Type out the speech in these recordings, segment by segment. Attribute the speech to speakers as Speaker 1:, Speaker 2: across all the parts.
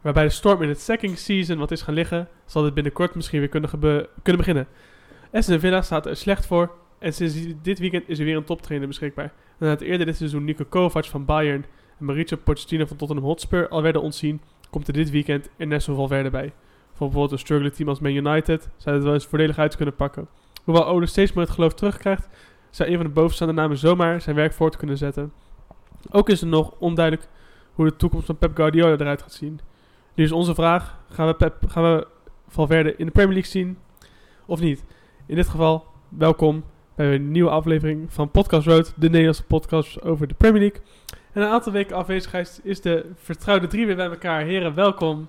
Speaker 1: Waarbij de storm in het second season wat is gaan liggen, zal dit binnenkort misschien weer kunnen, gebe- kunnen beginnen. Aston Villa staat er slecht voor en sinds dit weekend is er weer een toptrainer beschikbaar. Nadat eerder dit seizoen Nico Kovac van Bayern en Mauricio Pochettino van Tottenham Hotspur al werden ontzien, komt er dit weekend Ernesto Valverde bij. Voor bijvoorbeeld een struggle team als Man United zou dit wel eens voordelig uit kunnen pakken. Hoewel Ole steeds meer het geloof terugkrijgt, zou een van de bovenstaande namen zomaar zijn werk voort kunnen zetten. Ook is er nog onduidelijk hoe de toekomst van Pep Guardiola eruit gaat zien. Nu is onze vraag: gaan we, Pep, gaan we Valverde in de Premier League zien of niet? In dit geval, welkom bij een nieuwe aflevering van Podcast Road, de Nederlandse podcast over de Premier League. En een aantal weken afwezigheid is de vertrouwde drie weer bij elkaar. Heren, welkom.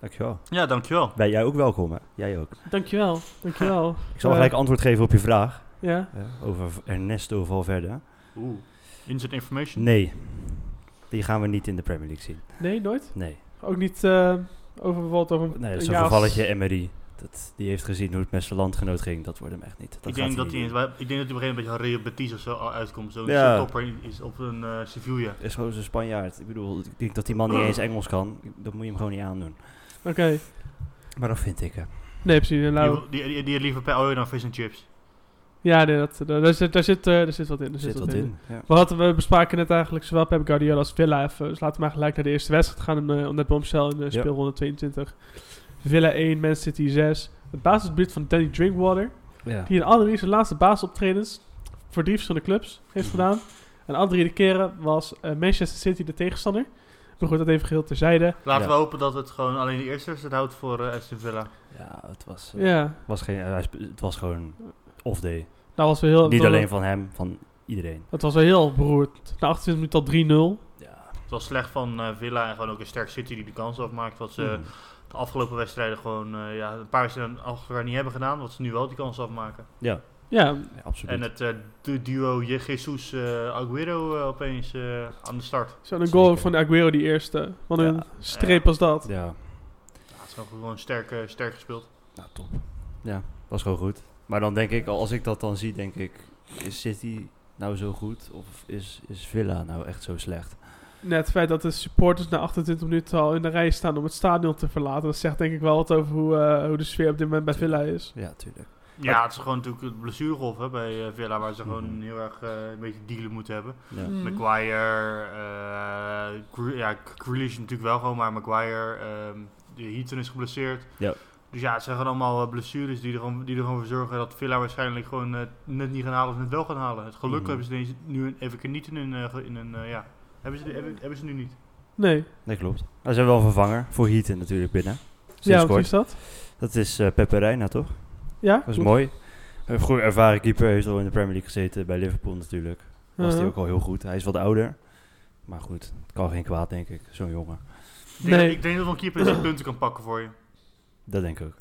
Speaker 2: Dankjewel.
Speaker 3: Ja, dankjewel.
Speaker 2: Ben jij ook welkom, hè? Jij ook.
Speaker 1: Dankjewel, dankjewel.
Speaker 2: Ik zal
Speaker 1: Eh,
Speaker 2: gelijk antwoord geven op je vraag
Speaker 1: Ja,
Speaker 2: eh, over V- Ernesto Valverde.
Speaker 3: Oeh. Instant information.
Speaker 2: Nee, die gaan we niet in de Premier League zien.
Speaker 1: nee, nooit.
Speaker 2: Nee,
Speaker 1: Ook niet eh, over bijvoorbeeld over een
Speaker 2: nee dat is
Speaker 1: een
Speaker 2: een
Speaker 1: jaar als-
Speaker 2: gevalletje Emery. Dat, die heeft gezien hoe het met zijn landgenoot ging. Dat wordt hem echt niet. Dat
Speaker 3: ik,
Speaker 2: gaat
Speaker 3: denk dat hij,
Speaker 2: niet
Speaker 3: in- ik denk dat hij op een gegeven moment een Real Betis of zo al uitkomt. Zo'n
Speaker 2: Ja.
Speaker 3: topper is op een eh, Sevilla.
Speaker 2: doen. is gewoon een Spanjaard. Ik bedoel, ik denk dat die man niet eens Engels kan. Dat moet je hem gewoon niet aandoen.
Speaker 1: Oké,
Speaker 2: Maar dat vind ik, hè.
Speaker 1: nee, precies. En
Speaker 3: Die,
Speaker 1: nou,
Speaker 3: wil- die, die, die had liever bij Oyo dan vis en chips.
Speaker 1: ja, nee, dat, daar, daar zit, daar, zit, eh, daar zit wat in. Daar
Speaker 2: Er zit wat in. Ja.
Speaker 1: We, hadden, we bespraken net eigenlijk zowel Pep Guardiola als Villa. Even, dus laten we maar gelijk naar de eerste wedstrijd gaan. Om, eh, om dat bombshell in de
Speaker 2: Ja.
Speaker 1: speelronde 22. Villa 1, Man City 6. Het basisbuurt van Danny Drinkwater.
Speaker 2: Ja.
Speaker 1: Die in alle drie zijn laatste basisoptredens voor drie verschillende clubs heeft gedaan. En alle drie de keren was eh, Manchester City de tegenstander. Maar goed, dat even geheel terzijde.
Speaker 3: Laten
Speaker 2: Ja.
Speaker 3: we hopen dat het gewoon alleen de eerste wedstrijd houdt voor eh Aston Villa.
Speaker 2: Ja, het was, eh,
Speaker 1: Ja,
Speaker 2: was geen, hij sp- het was gewoon off day.
Speaker 1: nou was wel heel...
Speaker 2: Niet
Speaker 1: dat-
Speaker 2: alleen van hem, van iedereen.
Speaker 1: Dat was wel heel beroerd. Na 28 minuten al 3-0.
Speaker 2: Ja.
Speaker 3: Het was slecht van eh, Villa en gewoon ook een sterk City die de kans afmaakt. Wat ze
Speaker 2: Mm.
Speaker 3: de afgelopen wedstrijden gewoon eh, ja, een paar wedstrijden achter elkaar niet hebben gedaan. Wat ze nu wel die kans afmaken.
Speaker 2: ja.
Speaker 1: Ja,
Speaker 2: ja, absoluut.
Speaker 3: En het eh, du- duo Je- Jesus eh, Aguero eh, opeens eh, aan de start.
Speaker 1: zo'n goal
Speaker 2: Zeker.
Speaker 1: van Aguero die eerste. Wat een
Speaker 2: Ja.
Speaker 1: streep was dat.
Speaker 2: Ja,
Speaker 3: Ja, het is gewoon- gewoon sterk, eh, sterk gespeeld.
Speaker 2: nou top. Ja, was gewoon goed. Maar dan denk ik, als ik dat dan zie, denk ik, is City nou zo goed of is, is Villa nou echt zo slecht?
Speaker 1: Net het feit dat de supporters na 28 minuten al in de rij staan om het stadion te verlaten. Dat zegt denk ik wel wat over hoe, eh, hoe de sfeer op dit moment bij Villa is.
Speaker 2: Ja, tuurlijk.
Speaker 3: Ja, het is gewoon natuurlijk het blessuregolf hè, bij eh, Villa, waar ze gewoon
Speaker 2: Mhm.
Speaker 3: heel erg eh, een beetje dealen moeten hebben.
Speaker 2: Ja.
Speaker 1: Mhm.
Speaker 3: Maguire, eh Gre- ja, Grealish natuurlijk wel gewoon, maar Maguire, ehm, de Heaton is geblesseerd.
Speaker 2: Ja.
Speaker 3: Dus ja, het zijn gewoon allemaal eh, blessures die er gewoon, die er gewoon voor zorgen dat Villa waarschijnlijk gewoon eh, net niet gaan halen of net wel gaan halen. Het geluk
Speaker 2: Mhm.
Speaker 3: hebben ze deze- nu een- even niet in een, eh, ge- in een eh, ja, hebben ze, hebben, hebben ze nu niet.
Speaker 1: Nee.
Speaker 2: Nee, klopt. Nou, ze hebben wel een vervanger voor Heaton natuurlijk binnen. Sinds
Speaker 1: ja, wat
Speaker 2: kort.
Speaker 1: is dat?
Speaker 2: Dat is eh Pepe Reina, toch?
Speaker 1: Ja?
Speaker 2: Dat is mooi. Een goede ervaren keeper, heeft al in de Premier League gezeten bij Liverpool natuurlijk. Was hij
Speaker 1: Uh-huh.
Speaker 2: ook al heel goed. Hij is wat ouder. Maar goed, het kan geen kwaad, denk ik, zo'n jongen.
Speaker 3: Ik denk,
Speaker 1: Nee.
Speaker 3: ik denk dat nog een keeper is die punten kan pakken voor je.
Speaker 2: Dat denk ik ook.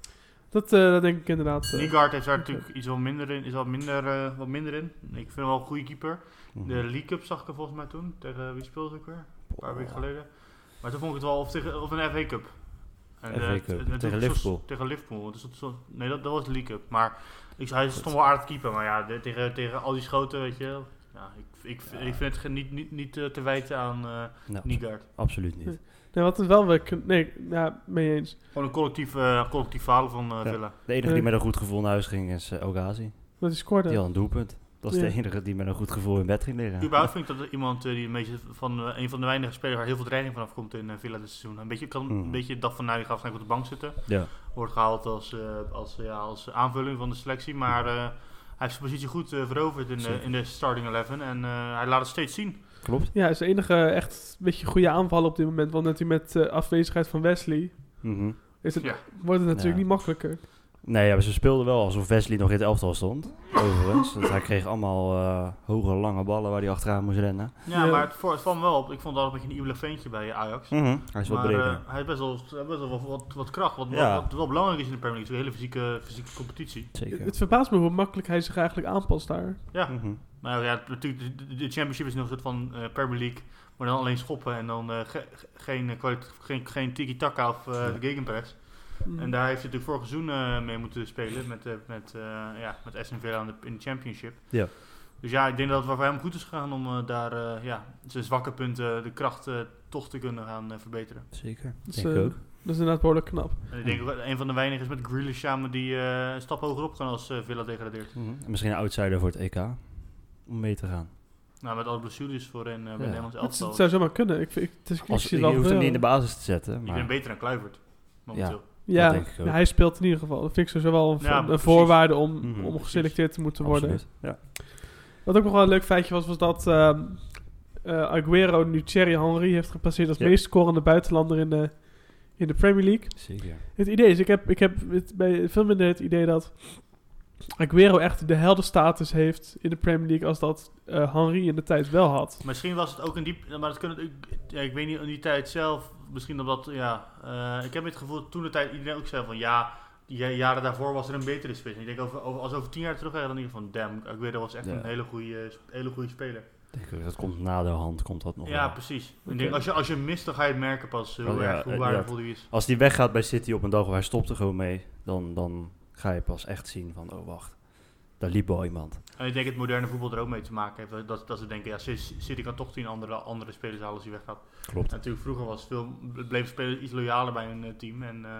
Speaker 1: Dat, eh, dat denk ik inderdaad. eh.
Speaker 3: Niegaard heeft daar natuurlijk iets wat minder in, is wat minder, eh, wat minder in. Ik vind hem wel een goede keeper.
Speaker 2: Mhm.
Speaker 3: De League Cup zag ik er volgens mij toen. Tegen wie speelde ze ook weer? Een paar weken
Speaker 2: Ja.
Speaker 3: geleden. Maar toen vond ik het wel of, tegen, of een FA Cup. En,
Speaker 2: FA
Speaker 3: eh,
Speaker 2: Cup,
Speaker 3: t- en
Speaker 2: tegen
Speaker 3: toen- zo-
Speaker 2: Liverpool.
Speaker 3: Tegen Liverpool. Dus dat, zo- nee, dat, dat was de League Cup. Maar ik, hij stond wel aardig keeper. Maar ja, de- tegen, tegen al die schoten, weet je. wel. Ja, ik, ik,
Speaker 2: Ja.
Speaker 3: ik vind het ge- niet, niet, niet eh, te wijten aan eh
Speaker 2: Nou,
Speaker 3: Niegaard.
Speaker 2: Absoluut
Speaker 1: Hm.
Speaker 2: niet.
Speaker 1: Nee, wat het wel weer kun- Nee, ja, mee eens.
Speaker 3: Gewoon een collectief, eh, collectief falen van eh,
Speaker 2: Ja.
Speaker 3: Villa.
Speaker 2: De enige die
Speaker 1: Eh.
Speaker 2: met een goed gevoel naar huis ging is eh, Ogazi.
Speaker 1: Dat is scoorde.
Speaker 2: Die had een doelpunt. Dat is
Speaker 1: Ja.
Speaker 2: de enige die met een goed gevoel in bed ging liggen.
Speaker 3: Überhaupt vind ik dat er iemand eh, die een beetje van eh, een van de weinige spelers waar heel veel dreiging vanaf komt in eh, Villa dit seizoen. Een beetje, kan,
Speaker 2: Mhm.
Speaker 3: een beetje dacht van nou, die gaat waarschijnlijk op de bank zitten.
Speaker 2: Ja.
Speaker 3: wordt gehaald als, eh, als, ja, als aanvulling van de selectie. Maar eh, hij heeft zijn positie goed eh, veroverd in de,
Speaker 2: Zeker.
Speaker 3: in de starting 11. En eh, hij laat het steeds zien.
Speaker 2: Klopt.
Speaker 1: Ja, is de enige echt beetje goede aanval op dit moment. Want natuurlijk met eh, afwezigheid van Wesley
Speaker 2: Mhm.
Speaker 1: is het,
Speaker 3: Ja.
Speaker 1: wordt het natuurlijk
Speaker 2: Ja.
Speaker 1: niet makkelijker.
Speaker 2: Nee, ja, maar ze speelden wel alsof Wesley nog in het elftal stond. Overigens. Want hij kreeg allemaal eh, hoge, lange ballen waar hij achteraan moest rennen.
Speaker 3: Ja,
Speaker 1: Ja.
Speaker 3: maar het, voor, het kwam wel op. Ik vond dat een beetje een iebele ventje bij Ajax.
Speaker 2: Mhm. Hij is wel
Speaker 3: maar
Speaker 2: breder.
Speaker 3: eh, hij heeft best wel, hij heeft best wel wat, wat, wat kracht. Wat,
Speaker 2: Ja.
Speaker 3: wat, wat wel belangrijk is in de Premier League. Het is een hele fysieke, fysieke competitie.
Speaker 2: Zeker.
Speaker 1: Het verbaast me hoe makkelijk hij zich eigenlijk aanpast daar.
Speaker 3: Ja.
Speaker 2: Mhm.
Speaker 3: Maar ja, het- natuurlijk, de, de- de Championship is nog een soort van eh, Premier League. Maar dan alleen schoppen en dan eh, ge- ge- geen, eh, kwali- geen, geen tiki-taka of eh
Speaker 2: Ja.
Speaker 3: gegenpress.
Speaker 1: Mm.
Speaker 3: En daar heeft hij natuurlijk vorig seizoen eh, mee moeten spelen met, eh met, eh ja, met SNV aan de, in de championship.
Speaker 2: Ja.
Speaker 3: Dus ja, ik denk dat het wel voor hem goed is gegaan om eh, daar eh, ja, zijn zwakke punten, de kracht eh, toch te kunnen gaan eh, verbeteren.
Speaker 2: Zeker.
Speaker 1: Dus,
Speaker 2: Denk ik
Speaker 1: eh,
Speaker 2: ook.
Speaker 1: Dat is inderdaad behoorlijk knap.
Speaker 3: En ik denk ook dat een van de weinigen is met Grealish samen die eh, een stap hoger op kan als eh, Villa degradeert.
Speaker 2: Mhm. En Misschien een outsider voor het EK. Om mee te gaan.
Speaker 3: Nou, met alle blessures voor een eh bij
Speaker 2: Ja.
Speaker 3: het Nederlands
Speaker 1: Het, is-
Speaker 3: elftal.
Speaker 1: het zou zomaar kunnen. Ik, vind- ik, het is, ik
Speaker 2: Als,
Speaker 1: zie
Speaker 2: je
Speaker 1: het wel
Speaker 2: hoeft hem niet in de
Speaker 1: gebeuren.
Speaker 2: basis te zetten.
Speaker 3: Ik ben
Speaker 2: Maar
Speaker 3: beter dan Kluivert, momenteel.
Speaker 1: Ja,
Speaker 2: Dat denk ik ook.
Speaker 1: hij speelt in ieder geval. Dat vind ik sowieso wel een,
Speaker 3: Ja,
Speaker 1: een
Speaker 3: precies.
Speaker 1: voorwaarde om,
Speaker 2: Mhm,
Speaker 1: om
Speaker 2: precies.
Speaker 1: geselecteerd te moeten worden.
Speaker 2: absoluut. Ja.
Speaker 1: Wat ook nog wel een leuk feitje was, was dat ehm, eh, Aguero nu Thierry Henry heeft gepasseerd als
Speaker 2: Ja.
Speaker 1: meest scorende buitenlander in de, in de Premier League.
Speaker 2: Zeker.
Speaker 1: Het idee is, ik heb, ik heb het, bij veel minder het idee dat Aguero echt de heldenstatus heeft in de Premier League als dat eh, Henry in de tijd wel had.
Speaker 3: Misschien was het ook een diep... Maar dat kunnen, ik, ja, ik weet niet, in die tijd zelf... Misschien omdat, ja... eh, ik heb het gevoel dat toen de tijd iedereen ook zei van... Ja, die ja- jaren daarvoor was er een betere spits. En ik denk, over, over, als we over tien jaar terug gaan, dan denk ik van... Damn, Aguero was echt
Speaker 2: Ja.
Speaker 3: een hele goede, hele goede speler.
Speaker 2: Denk ik ook. Dat komt naderhand. Komt dat nog
Speaker 3: ja,
Speaker 2: wel.
Speaker 3: precies.
Speaker 1: Oké.
Speaker 3: Ik denk, als je, als je hem mist, dan ga je het merken pas eh,
Speaker 2: Oh,
Speaker 3: hoe,
Speaker 2: ja,
Speaker 3: erg, hoe
Speaker 2: eh,
Speaker 3: waardevol die is.
Speaker 2: Als die weggaat bij City op een dag waar hij stopt er gewoon mee, dan, dan ga je pas echt zien van, oh wacht, daar liep wel iemand.
Speaker 3: En ik denk dat het moderne voetbal er ook mee te maken heeft. Dat- Dat, dat ze denken, ja, City kan toch tien andere, andere spelers halen als hij weggaat.
Speaker 2: Klopt.
Speaker 3: En natuurlijk, vroeger was het veel, bleven spelers iets loyaler bij hun eh, team. En eh,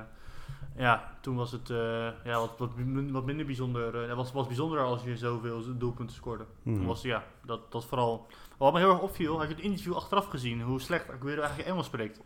Speaker 3: ja, toen was het eh, ja, wat, wat, min- wat minder bijzonder. eh, Het was, was bijzonder als je zoveel doelpunten scoorde.
Speaker 2: Hmm.
Speaker 3: Toen
Speaker 2: Mhm.
Speaker 3: was ja, dat, dat vooral... Wat me heel erg opviel, had je het interview achteraf gezien, hoe slecht Aguero eigenlijk Engels spreekt.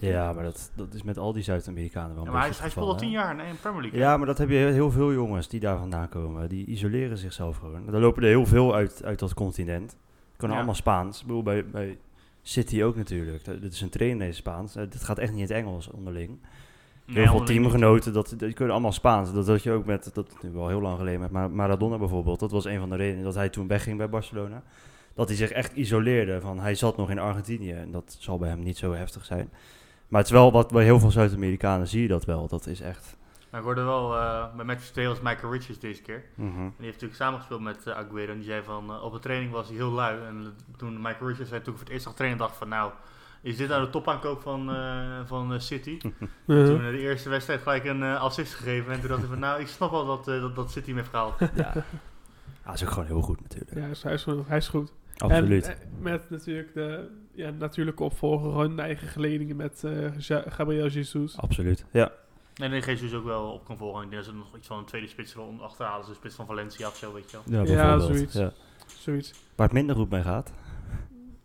Speaker 2: Ja, maar dat, dat is met al die Zuid-Amerikanen wel
Speaker 3: Ja,
Speaker 2: een
Speaker 3: maar hij,
Speaker 2: beetje
Speaker 3: hij
Speaker 2: het
Speaker 3: speelt al tien
Speaker 2: geval,
Speaker 3: jaar in de Premier
Speaker 2: hè?
Speaker 3: League.
Speaker 2: Ja, maar dat heb je heel veel jongens die daar vandaan komen. Die isoleren zichzelf gewoon. Er lopen er heel veel uit, uit dat continent. Kunnen
Speaker 3: Ja.
Speaker 2: allemaal Spaans. Ik bedoel, bij, bij City ook natuurlijk. Dat- Dit is een trainer in Spaans. Eh, Dit gaat echt niet in het Engels onderling.
Speaker 3: Nee,
Speaker 2: heel veel
Speaker 3: helemaal niet.
Speaker 2: teamgenoten, dat, dat- die kunnen allemaal Spaans. Dat dat je ook met, dat nu wel heel lang geleden, met Mar- Maradona bijvoorbeeld. Dat was een van de redenen dat hij toen wegging bij Barcelona. Dat hij zich echt isoleerde. Van, hij zat nog in Argentinië en dat zal bij hem niet zo heftig zijn. Maar het is wel wat bij heel veel Zuid-Amerikanen zie je dat wel. Dat is echt.
Speaker 3: Maar ik hoorde wel, eh, bij Manchester United was Michael Richards deze keer.
Speaker 2: Mhm.
Speaker 3: En die heeft natuurlijk samengespeeld met eh, Aguero. En die zei van, eh, op de training was hij heel lui. En eh, toen Michael Richards zei, toen ik voor het eerst zag trainen, dacht ik van, nou, is dit nou de topaankoop van, eh, van eh, City?
Speaker 1: Eh,
Speaker 2: Mhm.
Speaker 3: Toen eh, de eerste wedstrijd gelijk een eh, assist gegeven. En toen dacht ik van, nou, ik snap wel dat, eh, dat, dat City hem heeft gehaald.
Speaker 2: Ja. ja, dat is ook gewoon heel goed natuurlijk.
Speaker 1: ja, dus hij is, hij is goed. Hij is goed.
Speaker 2: Absoluut.
Speaker 1: En, eh, met natuurlijk de ja, natuurlijke opvolger, gewoon de eigen geledingen met eh, Ja- Gabriel
Speaker 2: Ah,
Speaker 1: Jesus.
Speaker 2: Absoluut. Ja.
Speaker 3: En die geeft dus ook wel op kan volgen. Ik denk dat ze nog iets van een tweede spits eronder achterhalen. Dus de spits van Valencia of zo, weet je wel.
Speaker 2: Ja,
Speaker 1: zoiets.
Speaker 2: Ja.
Speaker 1: Zoiets.
Speaker 2: Waar het minder goed mee gaat.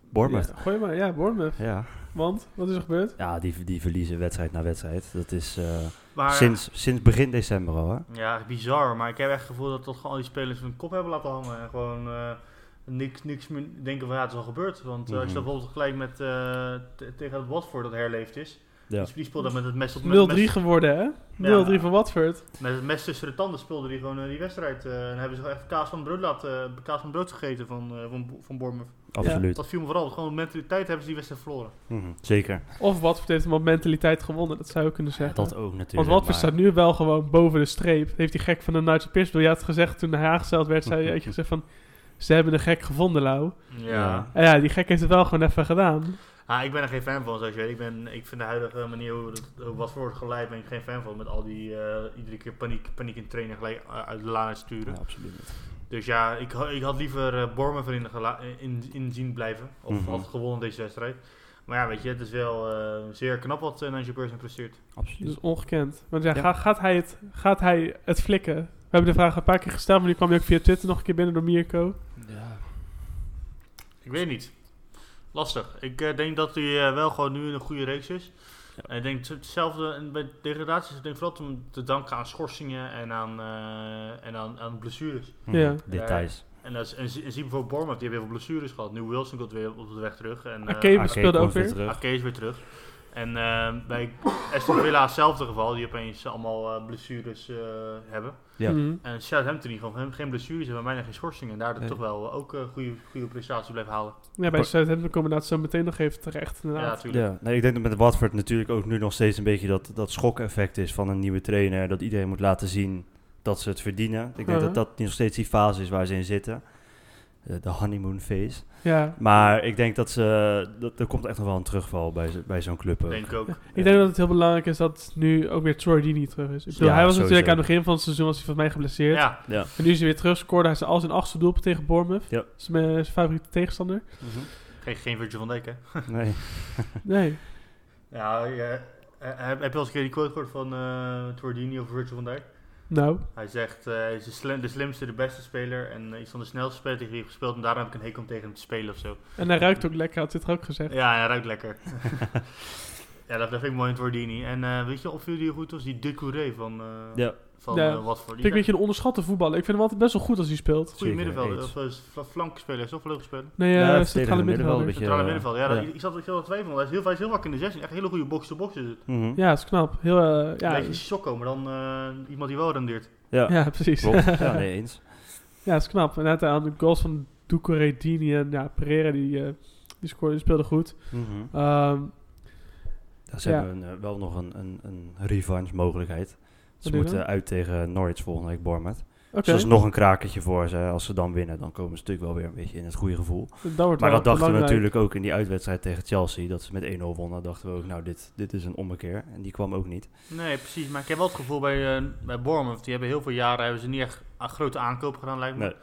Speaker 2: Bournemouth.
Speaker 1: Ja, gooi maar, ja, Bournemouth.
Speaker 2: Ja,
Speaker 1: Want, wat is er gebeurd?
Speaker 2: ja. die, die verliezen wedstrijd na wedstrijd. Dat is. eh,
Speaker 3: Maar,
Speaker 2: Sinds, sinds begin december al, hè?
Speaker 3: Ja, bizar. Maar ik heb echt het gevoel dat, dat gewoon al die spelers hun kop hebben laten hangen. En gewoon eh, niks, niks meer denken van ja, het is al gebeurd. Want eh, als je
Speaker 2: Mhm.
Speaker 3: dat bijvoorbeeld gelijk met, eh, te- tegen het Watford dat herleefd is.
Speaker 2: Ja.
Speaker 3: Die speelde met het mes op
Speaker 1: 0-3
Speaker 3: met, het mes-
Speaker 1: geworden, hè? 0-3 van Watford.
Speaker 3: met het mes tussen de tanden speelde die gewoon eh, die wedstrijd. eh, en hebben ze echt kaas van brood laten eh, kaas van brood gegeten van, eh, van, van Bournemouth.
Speaker 2: Absoluut.
Speaker 3: Dat viel me vooral. want Gewoon de mentaliteit hebben ze die wedstrijd verloren.
Speaker 2: Mhm, Zeker.
Speaker 1: Of Watford heeft hem op mentaliteit gewonnen, dat zou je kunnen zeggen.
Speaker 2: Dat ook natuurlijk.
Speaker 1: Want Watford
Speaker 2: maar-
Speaker 1: staat nu wel gewoon boven de streep. Heeft die gek van de Nigel Pierce, bedoel, je had gezegd toen hij aangesteld werd, zei je had je gezegd van... Ze hebben een gek gevonden, Lau.
Speaker 2: Ja.
Speaker 1: En ja, die gek heeft het wel gewoon even gedaan.
Speaker 3: Ah, ik ben er geen fan van, zoals je weet. Ik, ben, ik vind de huidige manier hoe het hoe wat voor wordt geleid, ben ik geen fan van. Met al die eh, iedere keer paniek, paniek in trainen gelijk eh, uit de laan sturen.
Speaker 2: Ja, absoluut niet.
Speaker 3: Dus ja, ik, ha- ik had liever eh Bournemouth erin gela- in, in zien blijven. Of
Speaker 2: Mhm.
Speaker 3: had gewonnen deze wedstrijd. Maar ja, weet je, het is wel eh, zeer knap wat uh, Nigel Pearson presteert.
Speaker 1: Dat
Speaker 2: Absoluut.
Speaker 1: is ongekend. Want ja,
Speaker 2: Ja.
Speaker 1: ga- gaat, hij het, gaat hij het flikken? We hebben de vraag een paar keer gesteld, maar die kwam je ook via Twitter nog een keer binnen door Mirko.
Speaker 2: Ja.
Speaker 3: Ik weet niet. Lastig. Ik eh, denk dat hij eh, wel gewoon nu in een goede reeks is. En ik denk het- hetzelfde en bij degradaties. Ik denk vooral te, te danken aan schorsingen en aan, eh, en aan, aan blessures.
Speaker 2: Mhm,
Speaker 1: Ja.
Speaker 2: Details.
Speaker 3: En, dat is, en, zie- en zie bijvoorbeeld Bournemouth, die hebben heel veel blessures gehad. Nu Wilson komt weer op de weg terug. En, eh,
Speaker 1: Ake
Speaker 2: Ake
Speaker 1: speelde ook
Speaker 2: komt
Speaker 1: weer.
Speaker 2: terug.
Speaker 3: Ake is weer terug. En eh, bij Aston Villa hetzelfde geval. Die opeens allemaal eh, blessures eh, hebben.
Speaker 2: Ja.
Speaker 1: Mhm.
Speaker 3: En Southampton die gewoon geen- geen blessures hebben, bijna geen schorsingen. En daardoor
Speaker 2: Nee.
Speaker 3: toch wel eh, ook eh, goede, goede prestaties blijven halen.
Speaker 1: Ja, bij
Speaker 2: Maar-
Speaker 1: Southampton komen we dat zo meteen nog even terecht.
Speaker 3: Ja,
Speaker 1: Inderdaad.
Speaker 3: natuurlijk.
Speaker 2: Ja. Nee, ik denk dat met Watford natuurlijk ook nu nog steeds een beetje dat, dat schok-effect is van een nieuwe trainer. Dat iedereen moet laten zien dat ze het verdienen. Ik denk
Speaker 1: Mhm.
Speaker 2: dat dat nog steeds die fase is waar ze in zitten. Eh, De honeymoon phase.
Speaker 1: Ja.
Speaker 2: Maar ik denk dat ze. Dat, er komt echt nog wel een terugval bij, zo- bij zo'n club. ook.
Speaker 3: Denk ik ook.
Speaker 1: Ik denk dat het heel belangrijk is dat nu ook weer Troy Deeney terug is. Ik bedoel,
Speaker 2: Ja,
Speaker 1: hij was
Speaker 2: sowieso.
Speaker 1: natuurlijk aan het begin van het seizoen was hij volgens mij geblesseerd.
Speaker 3: Ja,
Speaker 2: Ja.
Speaker 1: En nu is hij weer terug. Scoorde hij zijn al zijn achtste doelpunt tegen Bournemouth.
Speaker 2: Ja.
Speaker 1: Zijn, eh, zijn favoriete tegenstander.
Speaker 2: Mhm.
Speaker 3: Geen, geen Virgil van Dijk, hè?
Speaker 2: Nee.
Speaker 1: Nee.
Speaker 3: Ja, ja, eh, heb, heb je al eens een keer die quote gehoord van eh Tordini over Virgil van Dijk?
Speaker 1: Nou,
Speaker 3: Hij zegt, eh, hij is de, slim- de slimste, de beste speler en eh, iets van de snelste speler tegen wie ik heb gespeeld. En daarom heb ik een hekel om tegen hem te spelen of zo.
Speaker 1: en hij ruikt ook lekker, had dit er ook gezegd.
Speaker 3: Ja, hij ruikt lekker. ja, dat, dat vind ik mooi in Tordini. En eh, weet je, opviel die goed was? Die Decouré van, eh
Speaker 2: Ja.
Speaker 3: van
Speaker 1: Ja.
Speaker 3: eh, Watford.
Speaker 1: Ik
Speaker 3: Die
Speaker 1: vind een beetje een onderschatte voetballer. Ik vind hem altijd best wel goed als hij speelt.
Speaker 3: goede
Speaker 2: Zeker,
Speaker 3: middenvelder,
Speaker 2: eens.
Speaker 3: of eh, fla- flankspeler, is ook speler.
Speaker 1: Nee,
Speaker 2: Ja,
Speaker 1: eh
Speaker 2: verdedigende
Speaker 1: centrale
Speaker 2: middenvelder,
Speaker 1: middenvelder.
Speaker 3: Centrale
Speaker 2: Ja.
Speaker 3: middenvelder, ja, dat-
Speaker 2: Ja.
Speaker 3: ik- ik zat ik zat wel twijfelen. Hij is heel, hij is heel wakker in de 16, echt een hele goede box-to-box is het.
Speaker 2: Mhm.
Speaker 1: Ja, dat is knap. Heel, eh,
Speaker 3: Ja,
Speaker 1: ja,
Speaker 3: een beetje Sokko, maar dan eh, iemand die wel rendeert.
Speaker 2: Ja,
Speaker 1: ja, precies.
Speaker 2: klopt. Ja, nee, eens.
Speaker 1: Ja, dat is knap. En net eh, aan de goals van Ducoré, Dini en ja, Pereira, die, eh, die, scoorde, die speelde goed.
Speaker 2: Mhm.
Speaker 1: Ehm,
Speaker 2: Ja, ze
Speaker 1: Ja.
Speaker 2: hebben een, eh, wel nog een, een, een revanche mogelijkheid. Ze
Speaker 1: doe je
Speaker 2: moeten
Speaker 1: dan?
Speaker 2: uit tegen Norwich volgende week Bournemouth.
Speaker 1: Oké,
Speaker 2: Dus dat is nog een krakertje voor ze. Als ze dan winnen, dan komen ze natuurlijk wel weer een beetje in het goede gevoel.
Speaker 1: dat wordt
Speaker 2: Maar
Speaker 1: wel
Speaker 2: dat dachten we
Speaker 1: belangrijk.
Speaker 2: natuurlijk ook in die uitwedstrijd tegen Chelsea. Dat ze met 1-0 wonnen. Dachten we ook, nou, dit, dit is een ommekeer. En die kwam ook niet.
Speaker 3: Nee, precies. Maar ik heb wel het gevoel bij, eh bij Bournemouth, die hebben heel veel jaren hebben ze niet echt a- grote aankopen gedaan, lijkt me.
Speaker 2: Nee.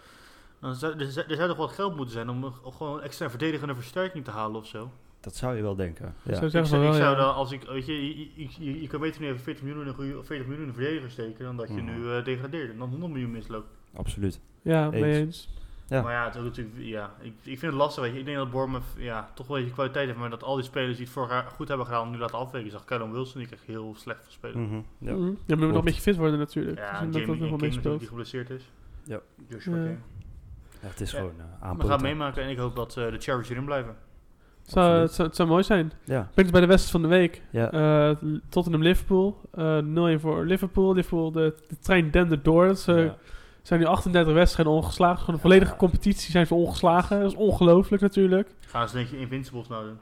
Speaker 3: Dan zou, er, zou- er zou toch wat geld moeten zijn om een- om gewoon een extra verdedigende versterking te halen of zo.
Speaker 2: Dat zou je wel denken.
Speaker 1: Zo
Speaker 2: Ja.
Speaker 1: zeggen
Speaker 3: Ik,
Speaker 1: ze
Speaker 3: zou- ik
Speaker 1: wel,
Speaker 3: zou
Speaker 1: ja.
Speaker 3: dan, als ik, weet je, je, je- je- je kan beter nu even 40 miljoen in een, goede, 40 miljoen in een verdediger steken dan dat je
Speaker 2: Mhm.
Speaker 3: nu eh, degradeert en dan 100 miljoen misloopt.
Speaker 2: Absoluut.
Speaker 1: Ja, mee
Speaker 2: Eens.
Speaker 1: eens.
Speaker 2: Ja.
Speaker 3: Maar ja, het is ook natuurlijk, ja, ik, ik vind het lastig, weet je. Ik denk dat Bournemouth ja, toch wel een beetje kwaliteit heeft, maar dat al die spelers die het vorig jaar goed hebben gedaan nu laten afwegen. Ik zag Callum Wilson, die kreeg heel slecht van spelen.
Speaker 2: Mhm.
Speaker 1: Ja,
Speaker 2: Ja.
Speaker 1: maar we moeten nog een
Speaker 2: Klopt.
Speaker 1: beetje fit worden natuurlijk.
Speaker 3: Ja,
Speaker 1: dus
Speaker 3: en
Speaker 1: dat dat
Speaker 3: Jamie
Speaker 1: nog wel
Speaker 3: King natuurlijk,
Speaker 1: meespeelt.
Speaker 3: die geblesseerd is.
Speaker 2: Ja.
Speaker 3: Joshua
Speaker 1: Ja.
Speaker 3: King.
Speaker 2: Ja, het is
Speaker 3: Ja.
Speaker 2: gewoon eh
Speaker 3: We gaan
Speaker 2: aanpoten.
Speaker 3: meemaken en ik hoop dat eh, de Chargers erin blijven.
Speaker 1: Zou,
Speaker 2: Absoluut.
Speaker 1: het, zou, het zou mooi zijn.
Speaker 2: Ja.
Speaker 1: Ben ik bij de wedstrijd van de week.
Speaker 2: Ja.
Speaker 1: Eh, Tottenham-Liverpool. Eh 0-1 voor Liverpool. Liverpool, de, de trein dendert door. Dat eh, Ze
Speaker 2: Ja.
Speaker 1: zijn nu 38 wedstrijden ongeslagen. Gewoon de volledige competitie zijn ze ongeslagen. Dat is ongelooflijk natuurlijk.
Speaker 3: Gaan ze denk je Invincibles nou doen?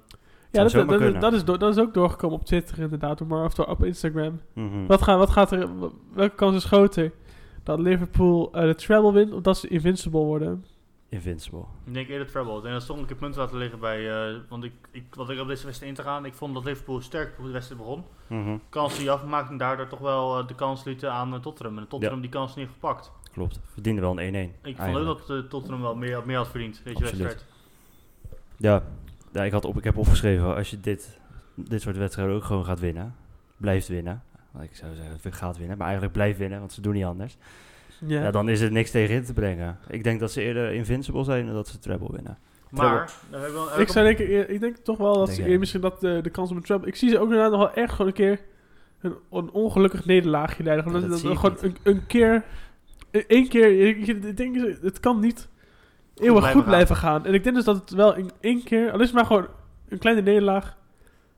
Speaker 1: Ja, dat,
Speaker 2: zomaar
Speaker 1: dat, dat,
Speaker 2: kunnen.
Speaker 1: dat is door- dat is ook doorgekomen op Twitter inderdaad. door Maar of door, op Instagram.
Speaker 2: Mhm.
Speaker 1: Wat, gaan, wat gaat er... wa- Welke kans is groter? Dat Liverpool eh, de treble wint of dat ze invincible worden?
Speaker 2: Invincible.
Speaker 3: Ik denk eerder Treble. En dat stond ik een punt laten liggen bij... eh, want ik, ik, wat ik op deze wedstrijd in te gaan, ik vond dat Liverpool sterk op de wedstrijd begon.
Speaker 2: Mhm.
Speaker 3: Kans die afmaakte en daardoor toch wel eh, de kans lieten aan eh, Tottenham. En Tottenham die kans niet gepakt.
Speaker 2: Klopt. Verdiende wel een 1-1.
Speaker 3: Ik vond ook
Speaker 2: eigenlijk.
Speaker 3: dat eh, Tottenham wel meer, meer had verdiend, deze
Speaker 2: Absoluut.
Speaker 3: wedstrijd.
Speaker 2: Ja, ja ik, had op, ik heb opgeschreven, als je dit, dit soort wedstrijden ook gewoon gaat winnen, blijft winnen. Want Ik zou zeggen, gaat winnen, maar eigenlijk blijft winnen, want ze doen niet anders. Ja. dan is er niks tegen in te brengen. Ik denk dat ze eerder invincible zijn dan dat ze treble winnen.
Speaker 3: Maar... daar heb ik wel- heb
Speaker 1: Ik,
Speaker 3: ik
Speaker 1: zou denken, eh, ik denk toch wel dat
Speaker 2: Denk
Speaker 1: ze
Speaker 2: jij?
Speaker 1: eer- misschien dat eh, de, de kans op een treble... Ik zie ze ook inderdaad nog wel echt gewoon een keer een, een ongelukkig nederlaagje leiden. Gewoon
Speaker 2: Ja,
Speaker 1: dat
Speaker 2: dat
Speaker 1: dat
Speaker 2: zie
Speaker 1: gewoon
Speaker 2: ik
Speaker 1: een, een keer... e- één keer... ik- ik- Ik denk, ze- het kan niet eeuwig
Speaker 3: blijven
Speaker 1: goed blijven gaan. En ik denk dus dat het wel in één keer... Al is het maar gewoon een kleine nederlaag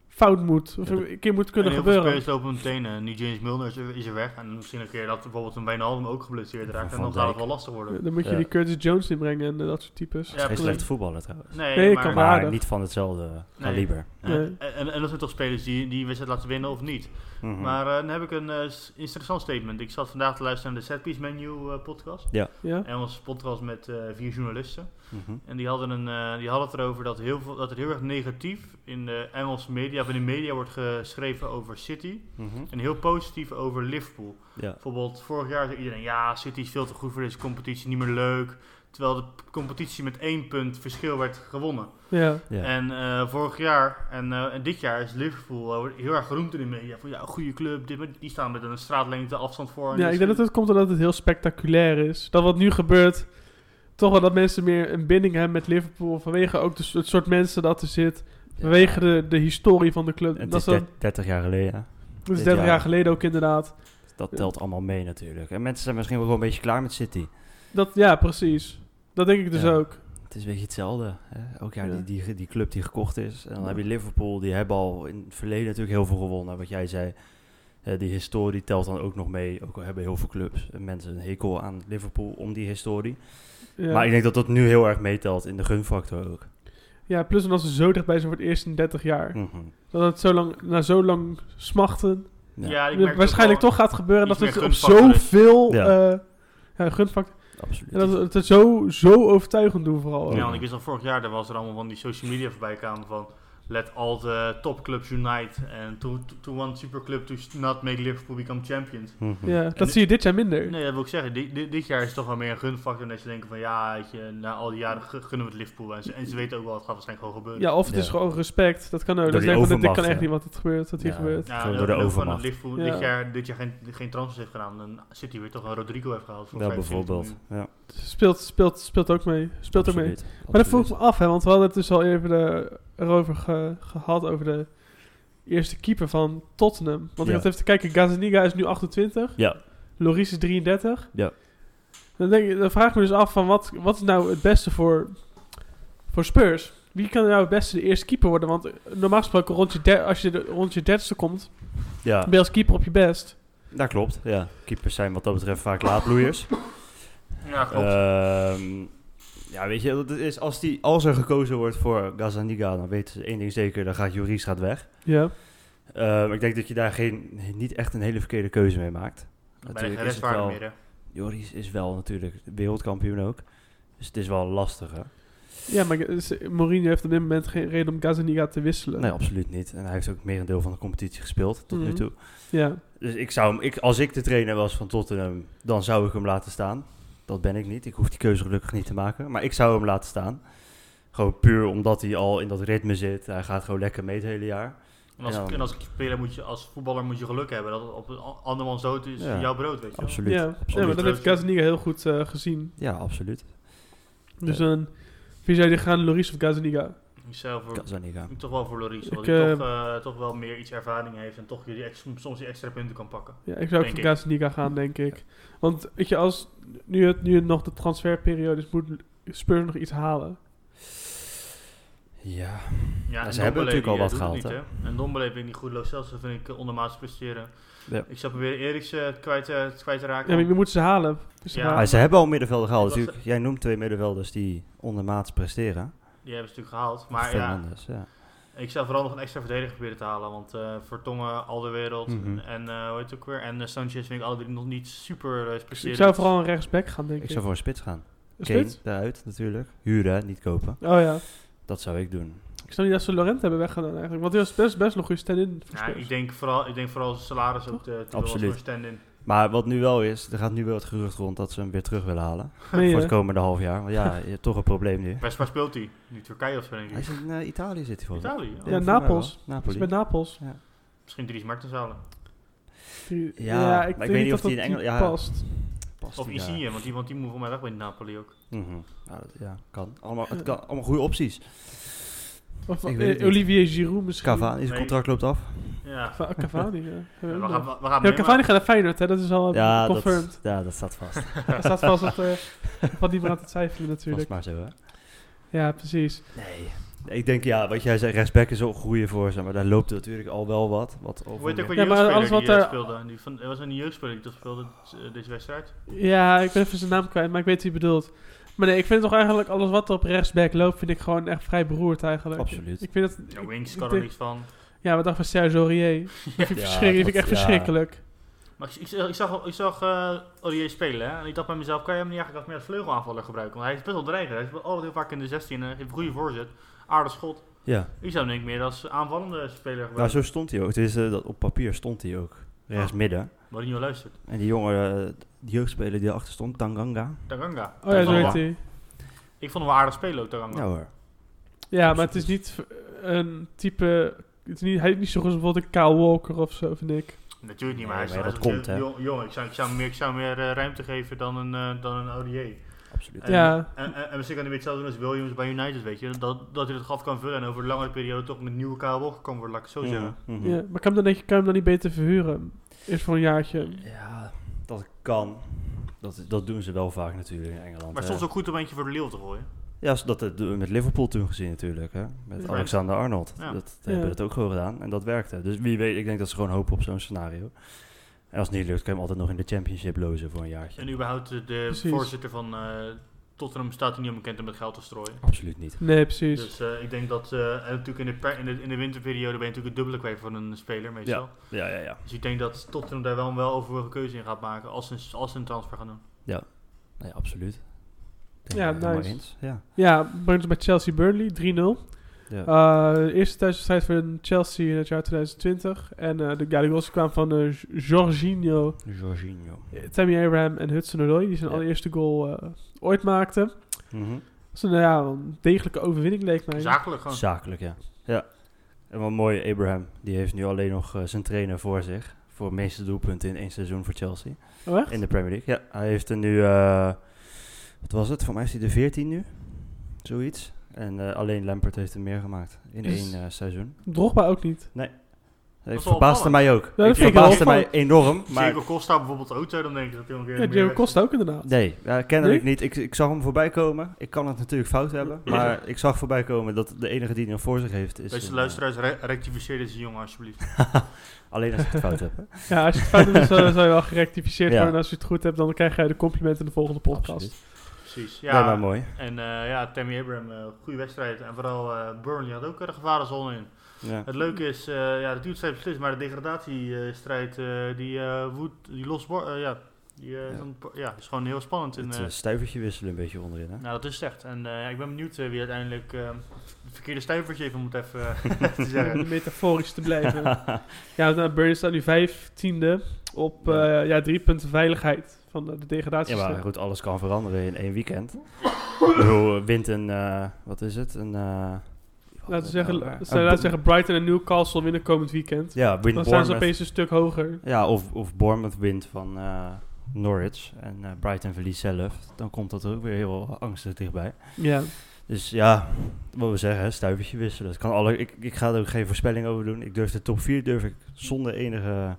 Speaker 1: fout moet. Of
Speaker 2: Ja, dat-
Speaker 1: een keer moet
Speaker 3: En
Speaker 1: kunnen
Speaker 3: heel veel
Speaker 1: gebeuren.
Speaker 3: spelers lopen meteen. eh, nu James Milner is, is er weg. En misschien een keer dat bijvoorbeeld een Wijnaldum ook geblesseerd raakt.
Speaker 2: Van
Speaker 3: En
Speaker 2: Van
Speaker 3: dan gaat het
Speaker 2: Dijk.
Speaker 3: wel lastig worden.
Speaker 1: Dan moet je
Speaker 2: Ja.
Speaker 1: die Curtis Jones inbrengen en eh, dat soort types.
Speaker 3: Ja,
Speaker 2: Geen
Speaker 3: precies.
Speaker 2: slechte voetballer trouwens.
Speaker 3: Nee,
Speaker 1: Nee, ik
Speaker 3: maar,
Speaker 1: kan
Speaker 2: Maar
Speaker 1: aardig.
Speaker 2: niet van hetzelfde
Speaker 3: Nee.
Speaker 2: kaliber.
Speaker 1: Nee.
Speaker 3: En, en, en dat zijn toch spelers die die wedstrijd laten winnen of niet.
Speaker 2: Mhm.
Speaker 3: Maar eh, dan heb ik een eh, s- interessant statement. Ik zat vandaag te luisteren naar de Setpiece Menu eh, podcast.
Speaker 1: Ja?
Speaker 3: En was een podcast met eh, vier journalisten.
Speaker 2: Mhm.
Speaker 3: En die hadden, een, eh, die hadden het erover dat, heel veel, dat er heel erg negatief in de Engelse media, of in de media wordt geschreven over City.
Speaker 2: Mhm.
Speaker 3: En heel positief over Liverpool.
Speaker 2: Ja.
Speaker 3: Bijvoorbeeld vorig jaar zei iedereen, ja, City is veel te goed voor deze competitie, niet meer leuk. Terwijl de p- competitie met één punt verschil werd gewonnen.
Speaker 1: Ja.
Speaker 2: Ja.
Speaker 3: En eh, vorig jaar en, eh, en dit jaar is Liverpool eh, wordt heel erg geroemd in de media. Van ja, een goede club, dit, met- die staan met een straatlengte afstand voor. En
Speaker 1: Ja,
Speaker 3: die
Speaker 1: ik denk dat
Speaker 3: spelen-
Speaker 1: het komt omdat het heel spectaculair is. Dat wat nu gebeurt, toch wel dat mensen meer een binding hebben met Liverpool. Vanwege ook de, so- het soort mensen dat er zit. Vanwege de, de historie van de club.
Speaker 2: En het
Speaker 1: dat
Speaker 2: is
Speaker 1: is, dan,
Speaker 2: der- 30 jaar geleden.
Speaker 1: dat is
Speaker 2: dit
Speaker 1: 30 jaar
Speaker 2: jaar.
Speaker 1: geleden ook inderdaad.
Speaker 2: Dat telt allemaal mee natuurlijk. En mensen zijn misschien wel gewoon een beetje klaar met City.
Speaker 1: Dat, ja, precies. Dat denk ik dus
Speaker 2: Ja.
Speaker 1: ook.
Speaker 2: Het is een beetje hetzelfde. Hè? Elk jaar
Speaker 1: Ja.
Speaker 2: die, die, die club die gekocht is. En dan
Speaker 1: Ja.
Speaker 2: heb je Liverpool, die hebben al in het verleden natuurlijk heel veel gewonnen. Wat jij zei, Eh, die historie telt dan ook nog mee. Ook al hebben heel veel clubs en mensen een hekel aan Liverpool om die historie.
Speaker 1: Ja.
Speaker 2: Maar ik denk dat dat nu heel erg meetelt in de gunfactor ook.
Speaker 1: ja, plus omdat ze zo dichtbij zijn voor het eerst in 30 jaar.
Speaker 2: Mhm.
Speaker 1: Dat het zo lang, na zo lang smachten
Speaker 2: Ja,
Speaker 3: Ja, ik merk het
Speaker 1: waarschijnlijk
Speaker 3: ook
Speaker 1: toch gaat gebeuren. Dat
Speaker 3: iets
Speaker 1: het
Speaker 3: meer
Speaker 1: op
Speaker 3: gunfactor is.
Speaker 1: zoveel...
Speaker 2: Ja.
Speaker 1: Ja. ja, gunfactor.
Speaker 2: absoluut.
Speaker 1: En dat we het zo, zo overtuigend doen
Speaker 3: wel.
Speaker 1: vooral. ook.
Speaker 3: Ja, want ik wist al vorig jaar, daar was er allemaal van die social media voorbij kwamen van... let all the top clubs unite and to, to, to one superclub to not make Liverpool become champions.
Speaker 2: Mhm.
Speaker 1: Ja, dat
Speaker 3: dit-
Speaker 1: zie je dit jaar minder.
Speaker 3: Nee, dat wil ik zeggen. Di- di- dit jaar is het toch wel meer een gunfactor. Dat ze denken van ja, weet je, na al die jaren gu- gunnen we het Liverpool. En ze, en ze weten ook wel, het gaat waarschijnlijk gewoon gebeuren.
Speaker 1: Ja, of het
Speaker 2: Ja.
Speaker 1: is gewoon respect. Dat kan ook.
Speaker 2: Door
Speaker 1: Dat
Speaker 2: die
Speaker 1: zeggen van, dit
Speaker 2: overmacht,
Speaker 1: kan echt
Speaker 2: ja.
Speaker 1: niet wat het gebeurt, wat hier
Speaker 2: Ja.
Speaker 1: gebeurt.
Speaker 3: Ja,
Speaker 2: Gewoon
Speaker 3: en
Speaker 2: door de
Speaker 3: ook van dat
Speaker 2: overmacht.
Speaker 3: Liverpool
Speaker 1: Ja.
Speaker 3: dit jaar, dit jaar geen, geen transfers heeft gedaan. Dan zit hij weer toch een Rodrigo heeft gehaald. Voor
Speaker 2: Ja,
Speaker 3: 75
Speaker 2: bijvoorbeeld.
Speaker 3: miljoen.
Speaker 2: Ja,
Speaker 1: Speelt, speelt, speelt ook mee. Speelt ook mee.
Speaker 2: absoluut.
Speaker 1: Maar dat vroeg ik
Speaker 2: Absoluut.
Speaker 1: me af, hè, want we hadden het dus al even eh, erover ge- gehad, over de eerste keeper van Tottenham. Want ik
Speaker 2: Ja.
Speaker 1: had even te kijken, Gazaniga is nu 28,
Speaker 2: Ja,
Speaker 1: Loris is 33.
Speaker 2: Ja.
Speaker 1: Dan, denk ik, dan vraag ik me dus af, van wat, wat is nou het beste voor, voor Spurs? Wie kan er nou het beste de eerste keeper worden? Want eh, normaal gesproken, rond je der- als je de- rond je dertigste komt,
Speaker 2: ja,
Speaker 1: ben je als keeper op je best.
Speaker 2: dat klopt. Ja. Keepers zijn wat dat betreft vaak laadbloeiers.
Speaker 3: Ja,
Speaker 2: Eh,
Speaker 3: klopt.
Speaker 2: Ehm, ja, weet je, dat is als, die, als er gekozen wordt voor Gazaniga, dan weten ze één ding zeker, dan gaat Juris gaat weg.
Speaker 1: Ja.
Speaker 2: Ehm, ik denk dat je daar geen, niet echt een hele verkeerde keuze mee maakt.
Speaker 3: Bij de
Speaker 2: Natuurlijk is het
Speaker 3: restwaarde
Speaker 2: wel,
Speaker 3: meer. hè.
Speaker 2: Joris is wel natuurlijk wereldkampioen ook. Dus het is wel lastiger.
Speaker 1: Ja, maar eh, ze- Mourinho heeft op dit moment geen reden om Gazaniga te wisselen.
Speaker 2: Nee, absoluut niet. En hij heeft ook meer een deel van de competitie gespeeld tot nu
Speaker 1: Mhm.
Speaker 2: toe.
Speaker 1: Ja.
Speaker 2: Dus ik zou hem, ik, als ik de trainer was van Tottenham, dan zou ik hem laten staan. Dat ben ik niet. Ik hoef die keuze gelukkig niet te maken. Maar ik zou hem laten staan. Gewoon puur omdat hij al in dat ritme zit. Hij gaat gewoon lekker mee het hele jaar.
Speaker 3: En als,
Speaker 2: Ja.
Speaker 3: en als speler moet je, als voetballer moet je geluk hebben. Dat het op een a- andermans dood is
Speaker 2: Ja.
Speaker 3: jouw brood, weet je wel.
Speaker 2: Absoluut.
Speaker 1: ja. ja, maar
Speaker 2: absoluut.
Speaker 1: dat heeft Gazaniga heel goed eh, gezien.
Speaker 2: Ja, absoluut.
Speaker 1: Dus dan, wie zou je gaan, Loris of Gazaniga?
Speaker 3: Ik zou voor,
Speaker 2: Kan zo niet gaan.
Speaker 3: ik toch wel voor Loris. Omdat
Speaker 1: Ik,
Speaker 3: hij toch,
Speaker 1: eh,
Speaker 3: eh, toch wel meer iets ervaring heeft. En toch die ex- soms die extra punten kan pakken.
Speaker 1: Ja, ik zou ook
Speaker 3: Denk
Speaker 1: voor
Speaker 3: ik.
Speaker 1: Gazaniga gaan, denk ik. Want weet je, als nu het, nu het nog de transferperiode is, moet Spurs nog iets halen.
Speaker 2: Ja.
Speaker 3: Ja,
Speaker 2: Ja,
Speaker 3: en
Speaker 2: ze hebben
Speaker 3: Dombele,
Speaker 2: natuurlijk al
Speaker 3: die,
Speaker 2: wat
Speaker 3: eh, doet het
Speaker 2: gehaald,
Speaker 3: niet, hè. En Dombele vind ik niet goed. Lo Celso vind ik eh, ondermaats presteren.
Speaker 2: Ja.
Speaker 3: Ik zou proberen Eriksen kwijt, eh, kwijt te raken.
Speaker 1: Ja, maar je moet ze halen. Dus
Speaker 3: Ja.
Speaker 1: ja.
Speaker 2: Maar Ah, ze hebben al middenvelden gehaald.
Speaker 3: Ik was-
Speaker 2: Natuurlijk, jij noemt twee middenvelders die ondermaats presteren.
Speaker 3: Die hebben ze natuurlijk gehaald. Maar
Speaker 2: Veel
Speaker 3: ja,
Speaker 2: anders, ja.
Speaker 3: ik zou vooral nog een extra verdediger proberen te halen. Want eh Vertongen, Alderwereld
Speaker 2: Mhm.
Speaker 3: en eh, hoe heet het ook weer? En eh, Sanchez vind ik alle drie nog niet super eh
Speaker 1: ik
Speaker 3: presteren.
Speaker 1: zou vooral een rechtsback gaan, denk ik.
Speaker 2: Ik zou voor een spits gaan.
Speaker 1: Een
Speaker 2: Kane,
Speaker 1: spits?
Speaker 2: daaruit natuurlijk. Huren, hè, niet kopen.
Speaker 1: Oh ja.
Speaker 2: Dat zou ik doen.
Speaker 1: Ik snap niet dat ze Laurent hebben weggedaan eigenlijk. Want die was best, best nog goede stand-in voor
Speaker 3: Ja,
Speaker 1: Spurs.
Speaker 3: ik denk vooral, ik denk vooral salaris ook te, te
Speaker 2: Absoluut.
Speaker 3: Absoluut. voor stand-in.
Speaker 2: Maar wat nu wel is, er gaat nu wel het gerucht rond dat ze hem weer terug willen halen.
Speaker 1: Meen
Speaker 2: Voor
Speaker 1: je?
Speaker 2: het komende half jaar. Want ja, je hebt toch een probleem nu.
Speaker 3: Waar, waar speelt hij? Nu Turkije of zo, denk
Speaker 2: Hij
Speaker 3: ik.
Speaker 2: zit in eh, Italië zit hij volgens mij.
Speaker 3: Italië.
Speaker 1: Ja,
Speaker 3: Oh,
Speaker 2: volgens mij
Speaker 1: Napels.
Speaker 2: wel.
Speaker 1: Dat is
Speaker 2: Napoli.
Speaker 1: bij Napels.
Speaker 3: Misschien Dries Martens halen.
Speaker 1: Die-
Speaker 2: Ja, maar ik
Speaker 1: denk
Speaker 2: weet niet
Speaker 1: dat
Speaker 2: of die in
Speaker 1: dat
Speaker 2: Engeland- ja.
Speaker 1: past.
Speaker 2: Past
Speaker 3: Of
Speaker 2: hij daar?
Speaker 3: Insigne, want die, want die moet voor mij weg bij Napoli ook.
Speaker 2: Mhm. Ja, dat- ja, kan. Allemaal, het kan. Allemaal goede opties.
Speaker 1: Of
Speaker 2: Ik weet het
Speaker 1: eh, Olivier Giroud misschien.
Speaker 2: Cavani, zijn
Speaker 3: Nee.
Speaker 2: contract loopt af.
Speaker 3: Ja.
Speaker 1: Va- Cavani, ja.
Speaker 3: Ja,
Speaker 1: Ja,
Speaker 3: we gaan, we gaan
Speaker 1: Ja,
Speaker 3: meemaken.
Speaker 1: Cavani gaat naar Feyenoord, hè. Dat is al eh,
Speaker 2: Ja,
Speaker 1: confirmed.
Speaker 2: dat, ja, dat staat vast.
Speaker 1: Hij staat vast op, eh, wat niet meer aan het twijfelen
Speaker 2: Vast
Speaker 1: natuurlijk.
Speaker 2: maar zo, hè?
Speaker 1: Ja, precies.
Speaker 2: Nee. Ik denk, ja, wat jij zei, rechtsback is ook een goede voor ze, maar daar loopt natuurlijk al wel wat. wat
Speaker 3: Hoe heet ook
Speaker 2: over
Speaker 3: weer
Speaker 1: Ja,
Speaker 3: die
Speaker 1: maar alles
Speaker 3: jeugdspeler
Speaker 1: wat
Speaker 3: die eh,
Speaker 1: daar-
Speaker 3: speelde? Die van, er was een jeugdspeler die dat speelde eh, deze wedstrijd.
Speaker 1: Ja, ik ben even zijn naam kwijt, maar ik weet wie je bedoelt. Maar nee, ik vind toch eigenlijk alles wat er op rechtsback loopt, vind ik gewoon echt vrij beroerd eigenlijk.
Speaker 2: Absoluut.
Speaker 1: Ik vind dat...
Speaker 3: Ja,
Speaker 1: ik-
Speaker 3: Wings
Speaker 1: ik
Speaker 3: kan er
Speaker 1: denk-
Speaker 3: niks van.
Speaker 1: Ja, wat dacht van Serge Aurier? Die vind ik,
Speaker 2: Ja,
Speaker 1: verschrik- die vind ik
Speaker 2: dat-
Speaker 1: echt
Speaker 2: ja.
Speaker 1: verschrikkelijk.
Speaker 3: Maar ik, ik, ik zag, ik zag eh, Aurier spelen hè? en ik dacht bij mezelf, kan je hem niet eigenlijk als meer als vleugelaanvaller gebruiken? Want hij is best wel dreigend. Hij speelt altijd heel vaak in de 16 en hij geeft een goede voorzet. Aardig schot.
Speaker 2: Ja,
Speaker 3: Ik zou hem denk ik meer als aanvallende speler
Speaker 2: nou
Speaker 3: gebruiken.
Speaker 2: zo stond hij ook. Het is, eh, dat, op papier stond hij ook. Rechts midden.
Speaker 3: Mourinho luistert.
Speaker 2: En die jongen, eh, die jeugdspeler die erachter stond, Tanganga.
Speaker 3: Tanganga.
Speaker 1: Oh ja, zo
Speaker 2: Ja.
Speaker 1: heet hij.
Speaker 3: Ik vond hem wel aardig spelen ook, Tanganga.
Speaker 2: Ja Nou, hoor.
Speaker 1: Ja, maar het is niet eh, een type... Het is niet, hij is niet zo goed als bijvoorbeeld een Kyle Walker of zo, vind ik.
Speaker 3: Natuurlijk niet, maar
Speaker 2: Nee,
Speaker 3: hij is
Speaker 2: maar
Speaker 3: hij
Speaker 2: dat
Speaker 3: is
Speaker 2: komt,
Speaker 3: een
Speaker 2: hè.
Speaker 3: jong- Jong, ik zou, ik zou hem meer, ik zou hem meer eh, ruimte geven dan een, eh, dan een Aurier.
Speaker 2: Absoluut.
Speaker 3: En,
Speaker 1: Ja.
Speaker 3: en, en, en misschien kan hij weer hetzelfde doen als Williams bij United, weet je. Dat, dat hij het gat kan vullen en over een langere periode toch met nieuwe KL kan worden, laat ik het zo
Speaker 2: Mhm,
Speaker 3: zeggen.
Speaker 2: mhm.
Speaker 1: Ja, maar kan je hem dan, kan je hem dan niet beter verhuren? Eerst voor een jaartje.
Speaker 2: Ja, dat kan. Dat, dat doen ze wel vaak natuurlijk in Engeland.
Speaker 3: Maar
Speaker 2: hè.
Speaker 3: soms ook goed om eentje voor de leeuw te gooien.
Speaker 2: Ja, s- dat hebben we met Liverpool toen gezien natuurlijk. Hè? Met
Speaker 1: Ja.
Speaker 2: Alexander Arnold.
Speaker 3: Ja.
Speaker 2: Dat
Speaker 1: Ja.
Speaker 2: hebben we dat ook gewoon gedaan. En dat werkte. Dus wie weet, ik denk dat ze gewoon hopen op zo'n scenario. En als het niet lukt, kan je hem altijd nog in de championship lozen voor een jaartje.
Speaker 3: En überhaupt eh, de
Speaker 1: Precies.
Speaker 3: voorzitter van eh, Tottenham staat er niet onbekend om met geld te strooien.
Speaker 2: Absoluut niet.
Speaker 1: Nee, precies.
Speaker 3: Dus eh, ik denk dat, eh, en natuurlijk in de, per- in, de, in de winterperiode ben je natuurlijk het dubbele kwijt van een speler meestal.
Speaker 2: Ja, ja, ja.
Speaker 3: Dus ik denk dat Tottenham daar wel een weloverwogen keuze in gaat maken als ze, als ze een transfer gaan doen.
Speaker 2: Nee, absoluut. Ik
Speaker 1: Ja,
Speaker 2: ben het helemaal
Speaker 1: nice.
Speaker 2: eens. Ja.
Speaker 1: Ja, brengt ons bij Chelsea Burnley 3-0.
Speaker 2: Ja.
Speaker 1: Eh, de eerste thuiswedstrijd van Chelsea in het jaar 2020. En eh, de, ja, de goals kwamen van eh, G- Jorginho,
Speaker 2: Jorginho.
Speaker 1: eh, Tammy Abraham en Hudson-Odoi. Die zijn
Speaker 2: Ja.
Speaker 1: allereerste goal eh, ooit maakten.
Speaker 2: Mhm.
Speaker 1: Dat is een, ja, een degelijke overwinning, leek mij.
Speaker 3: Zakelijk gewoon.
Speaker 2: Zakelijk, ja. Ja. En wat mooi, Abraham, die heeft nu alleen nog eh, zijn trainer voor zich. Voor de meeste doelpunten in één seizoen voor Chelsea.
Speaker 1: Oh, echt?
Speaker 2: In de Premier League, ja. Hij heeft er nu, eh, wat was het? Voor mij is hij de 14 nu. Zoiets. En eh, alleen Lampert heeft er meer gemaakt in
Speaker 1: Is-
Speaker 2: één eh, seizoen.
Speaker 1: Drogba ook niet.
Speaker 2: Het
Speaker 3: wel
Speaker 2: verbaasde mij ook.
Speaker 1: dat
Speaker 2: het
Speaker 1: vind ik wel
Speaker 2: verbaasde mij
Speaker 1: opvallend.
Speaker 2: enorm. Maar
Speaker 3: Diego Costa bijvoorbeeld ook zou dan denk ik dat hij nog een keer
Speaker 1: Ja,
Speaker 3: meer
Speaker 1: Diego
Speaker 3: weg-
Speaker 1: Costa ook inderdaad.
Speaker 2: nee, ja, kennelijk niet. Ik, ik zag hem voorbij komen. Ik kan het natuurlijk fout hebben.
Speaker 1: Ja.
Speaker 2: Maar ik zag voorbij komen dat de enige die hij nog voor zich heeft is... eh,
Speaker 3: Beste
Speaker 2: een,
Speaker 3: luisteraars, re- rectificeer deze jongen alsjeblieft.
Speaker 2: eh, alleen als ik het fout heb. hè.
Speaker 1: Ja, als je het fout doet, dan zou zou je wel gerectificeerd
Speaker 2: Ja.
Speaker 1: worden. En als je het goed hebt, dan krijg jij de complimenten in de volgende podcast.
Speaker 2: Absoluut.
Speaker 3: Precies.
Speaker 2: Nee,
Speaker 3: Ja,
Speaker 2: maar mooi.
Speaker 3: en eh, ja, Tammy Abraham, eh goede wedstrijd. En vooral eh, Burnley had ook er een gevarenzone in.
Speaker 2: Ja.
Speaker 3: Het leuke is, eh, ja, de duurstrijd beslist, maar de degradatiestrijd, eh, die eh woedt, die los wordt, eh, ja, die, eh,
Speaker 2: Ja.
Speaker 3: Dan, ja, is gewoon heel spannend. En,
Speaker 2: Het
Speaker 3: eh,
Speaker 2: eh, stuivertje wisselen een beetje onderin, hè?
Speaker 3: nou, dat is het echt. En eh, ja, ik ben benieuwd eh, wie uiteindelijk eh, het verkeerde stuivertje even moet even eh, te
Speaker 1: Om
Speaker 3: zeggen.
Speaker 1: metaforisch te blijven. ja, nou, Burnley staat nu vijftiende op
Speaker 2: Ja.
Speaker 1: ja. ja, drie punten veiligheid van eh, de degradatie.
Speaker 2: Ja, maar goed, alles kan veranderen in één weekend. Ik bedoel, wint een, eh, wat is het? Een, eh, wat
Speaker 1: Laten we
Speaker 2: was
Speaker 1: zeggen,
Speaker 2: het nou
Speaker 1: laten
Speaker 2: weer?
Speaker 1: we
Speaker 2: Een Bo-
Speaker 1: zeggen, Brighton en Newcastle winnen komend weekend.
Speaker 2: Ja, wint
Speaker 1: Dan staan ze
Speaker 2: Bournemouth.
Speaker 1: opeens een stuk hoger.
Speaker 2: Ja, of, of Bournemouth wint van eh, Norwich en eh, Brighton verliest zelf. Dan komt dat er ook weer heel angstig dichtbij.
Speaker 1: Ja.
Speaker 2: Dus ja, wat we zeggen, hè, stuivertje wisselen. Het kan alle, ik, ik ga er ook geen voorspelling over doen. Ik durf de top 4 durf ik zonder enige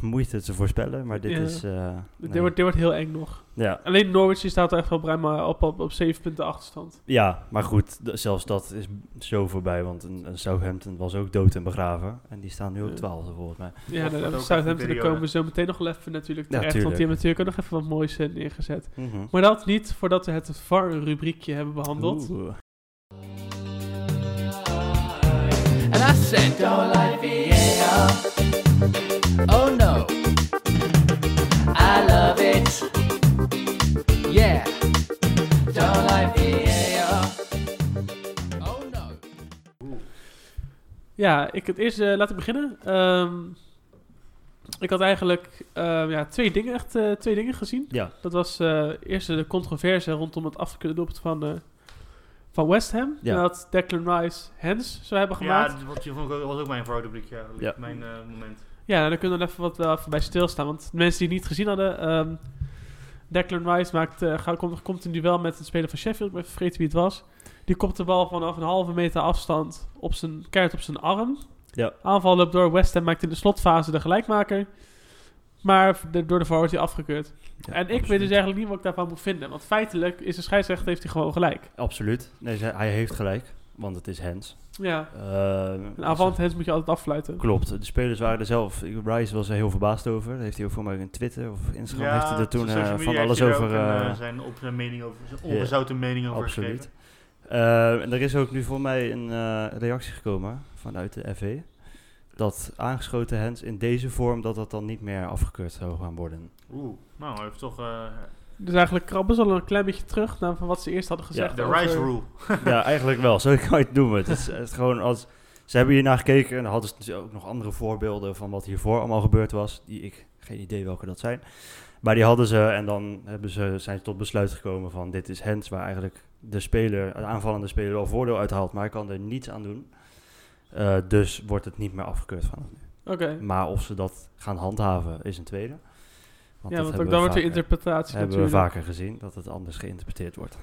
Speaker 2: moeite te voorspellen. Maar dit
Speaker 1: Ja.
Speaker 2: is... eh,
Speaker 1: Dit,
Speaker 2: nee.
Speaker 1: wordt, dit wordt heel eng nog.
Speaker 2: ja,
Speaker 1: Alleen Norwich die staat er echt wel ruim eh, op, op, op 7 punten achterstand.
Speaker 2: Ja, maar goed, d- zelfs dat is b- zo voorbij, want een, een Southampton was ook dood en begraven. En die staan nu op
Speaker 3: Eh.
Speaker 1: Ja.
Speaker 2: 12 volgens mij.
Speaker 1: Ja, nou,
Speaker 3: wordt ook
Speaker 1: dan,
Speaker 3: echt een
Speaker 1: Southampton daar
Speaker 3: periode.
Speaker 1: komen we zo meteen nog wel even natuurlijk
Speaker 2: Ja,
Speaker 1: terecht. want die
Speaker 2: tuurlijk.
Speaker 1: hebben natuurlijk ook nog even wat moois eh, neergezet.
Speaker 3: Mhm.
Speaker 1: Maar dat niet voordat we het VAR-rubriekje hebben behandeld.
Speaker 2: Oeh.
Speaker 4: And I said, don't like VAR. Oh no. I love it. Yeah. Don't like VAR. Oh no.
Speaker 1: Ja, ik het eerst eh, laat ik beginnen. Ehm, ik had eigenlijk ehm, ja, twee dingen echt eh, twee dingen gezien.
Speaker 2: Ja,
Speaker 1: Dat was eh eerst de controverse rondom het afgekeurde doelpunt van, eh, van West Ham.
Speaker 2: Ja.
Speaker 1: Dat Declan Rice hands zou hebben gemaakt.
Speaker 3: Ja, dat vond ik ook- was ook mijn voorrubriek, ja,
Speaker 2: Ja.
Speaker 3: mijn eh, moment.
Speaker 1: Ja, nou, daar kunnen we even wat wel even bij stilstaan. Want de mensen die het niet gezien hadden... ehm, Declan Rice maakt, eh, gaat- komt, komt in duel met een speler van Sheffield. Ik ben even vergeten wie het was. Die kopt de bal vanaf een halve meter afstand op zijn, keihard op zijn arm.
Speaker 2: Ja.
Speaker 1: Aanval loopt door. West Ham maakt in de slotfase de gelijkmaker. Maar de- door de VAR wordt hij afgekeurd.
Speaker 2: Ja,
Speaker 1: en ik weet
Speaker 2: absoluut.
Speaker 1: dus eigenlijk niet wat ik daarvan moet vinden. Want feitelijk is de scheidsrechter heeft hij gewoon gelijk.
Speaker 2: Absoluut. Nee, ze- hij heeft gelijk, want het is hands.
Speaker 1: Ja.
Speaker 2: Eh,
Speaker 1: Een avant hands moet je altijd affluiten.
Speaker 2: Klopt, de spelers waren er zelf. ik- Rice was er heel verbaasd over. Daar heeft hij ook voor mij ook in Twitter of Instagram heeft hij er
Speaker 3: op
Speaker 2: toen
Speaker 3: social
Speaker 2: eh,
Speaker 3: media
Speaker 2: van
Speaker 3: heeft
Speaker 2: alles
Speaker 3: hij er
Speaker 2: over...
Speaker 3: ook een, eh,
Speaker 2: eh,
Speaker 3: zijn, op zijn mening over, zijn
Speaker 2: ja,
Speaker 3: ongezouten mening over
Speaker 2: Absoluut.
Speaker 3: geschreven.
Speaker 2: Eh, en er is ook nu voor mij een eh, reactie gekomen vanuit de FV. Dat aangeschoten hands in deze vorm, dat dat dan niet meer afgekeurd zou gaan worden.
Speaker 3: Oeh, nou, hij heeft toch eh,
Speaker 1: Dus eigenlijk krabben ze al een klein beetje terug naar van wat ze eerst hadden gezegd.
Speaker 3: de
Speaker 1: over-
Speaker 3: Rice Rule.
Speaker 2: ja, eigenlijk wel. Zo kan je het noemen. Het is, het is gewoon als, ze hebben hiernaar gekeken en dan hadden ze natuurlijk ook nog andere voorbeelden van wat hiervoor allemaal gebeurd was. Die ik geen idee welke dat zijn. Maar die hadden ze en dan hebben ze, zijn ze tot besluit gekomen van dit is hands waar eigenlijk de speler, de aanvallende speler wel voordeel uit haalt, maar hij kan er niets aan doen. Eh, dus wordt het niet meer afgekeurd vanaf nu.
Speaker 1: Oké.
Speaker 2: Maar of ze dat gaan handhaven is een tweede. Want
Speaker 1: ja,
Speaker 2: dat
Speaker 1: want
Speaker 2: hebben
Speaker 1: ook
Speaker 2: we
Speaker 1: dan wordt er
Speaker 2: vaker-
Speaker 1: interpretatie
Speaker 2: Hebben we
Speaker 1: natuurlijk.
Speaker 2: vaker gezien dat het anders geïnterpreteerd wordt.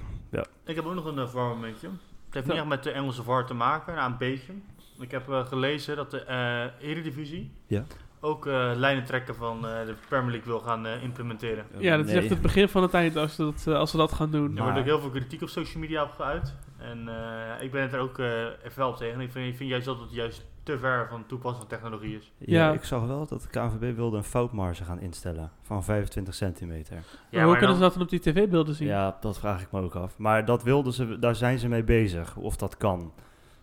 Speaker 3: Ik heb ook nog een warm momentje. Het heeft
Speaker 1: Ja.
Speaker 3: niet echt met de Engelse VAR te maken, nou, een beetje. Ik heb eh, gelezen dat de eh, Eredivisie
Speaker 2: Ja.
Speaker 3: ook eh, lijnen trekken van eh, de Premier League wil gaan eh, implementeren.
Speaker 1: Ja, dat is
Speaker 2: Nee.
Speaker 1: echt het begin van het eind als, ze dat, eh, als ze dat gaan doen.
Speaker 3: Er wordt
Speaker 2: Maar-
Speaker 3: ook heel veel kritiek op social media op geuit. En eh, ik ben het er ook eh, even wel op tegen. Ik vind, ik vind juist dat het juist te ver van toepassing van technologie is.
Speaker 2: Ja,
Speaker 1: Ja.
Speaker 2: ik zag wel dat de KNVB wilde een foutmarge gaan instellen van 25 centimeter.
Speaker 1: Maar hoe kunnen ze dus dat dan op die tv-beelden zien?
Speaker 2: Ja, dat vraag ik me ook af. Maar dat wilden ze, daar zijn ze mee bezig, of dat kan.